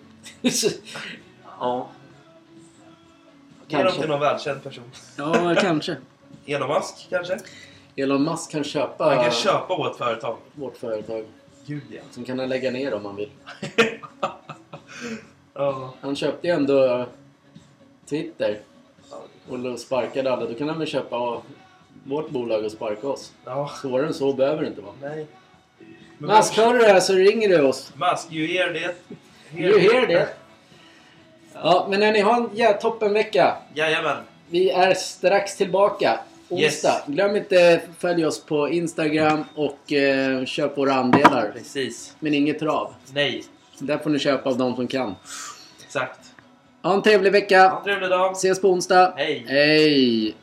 Speaker 3: ja.
Speaker 2: Ge dem till
Speaker 3: Kanske.
Speaker 2: någon välkänd person.
Speaker 3: Ja, kanske.
Speaker 2: Elon Musk kanske?
Speaker 3: Elon Musk kan köpa
Speaker 2: Han kan köpa vårt företag.
Speaker 3: vårt företag.
Speaker 2: Gud ja.
Speaker 3: Sen kan han lägga ner om han vill.
Speaker 2: Ja,
Speaker 3: Han köpte ju ändå Twitter
Speaker 2: ja.
Speaker 3: och då sparkade alla. Då kan han väl köpa vårt bolag och sparka oss.
Speaker 2: Ja,
Speaker 3: Svårare än så behöver det inte vara.
Speaker 2: nej. Men
Speaker 3: Mask, hör du det här så ringer du oss.
Speaker 2: Musk, you hear det?
Speaker 3: You hear det? Ja, men hörni, ha en ja, toppenvecka.
Speaker 2: Jajamän.
Speaker 3: Vi är strax tillbaka. Onsdag.
Speaker 2: Yes.
Speaker 3: Glöm inte följ oss på Instagram och eh, köp våra andelar.
Speaker 2: Precis.
Speaker 3: Men inget trav.
Speaker 2: Nej,
Speaker 3: Där får ni köpa av de som kan.
Speaker 2: exakt.
Speaker 3: Ha en trevlig vecka.
Speaker 2: Ha en trevlig dag.
Speaker 3: Ses på onsdag.
Speaker 2: Hej.
Speaker 3: Hej.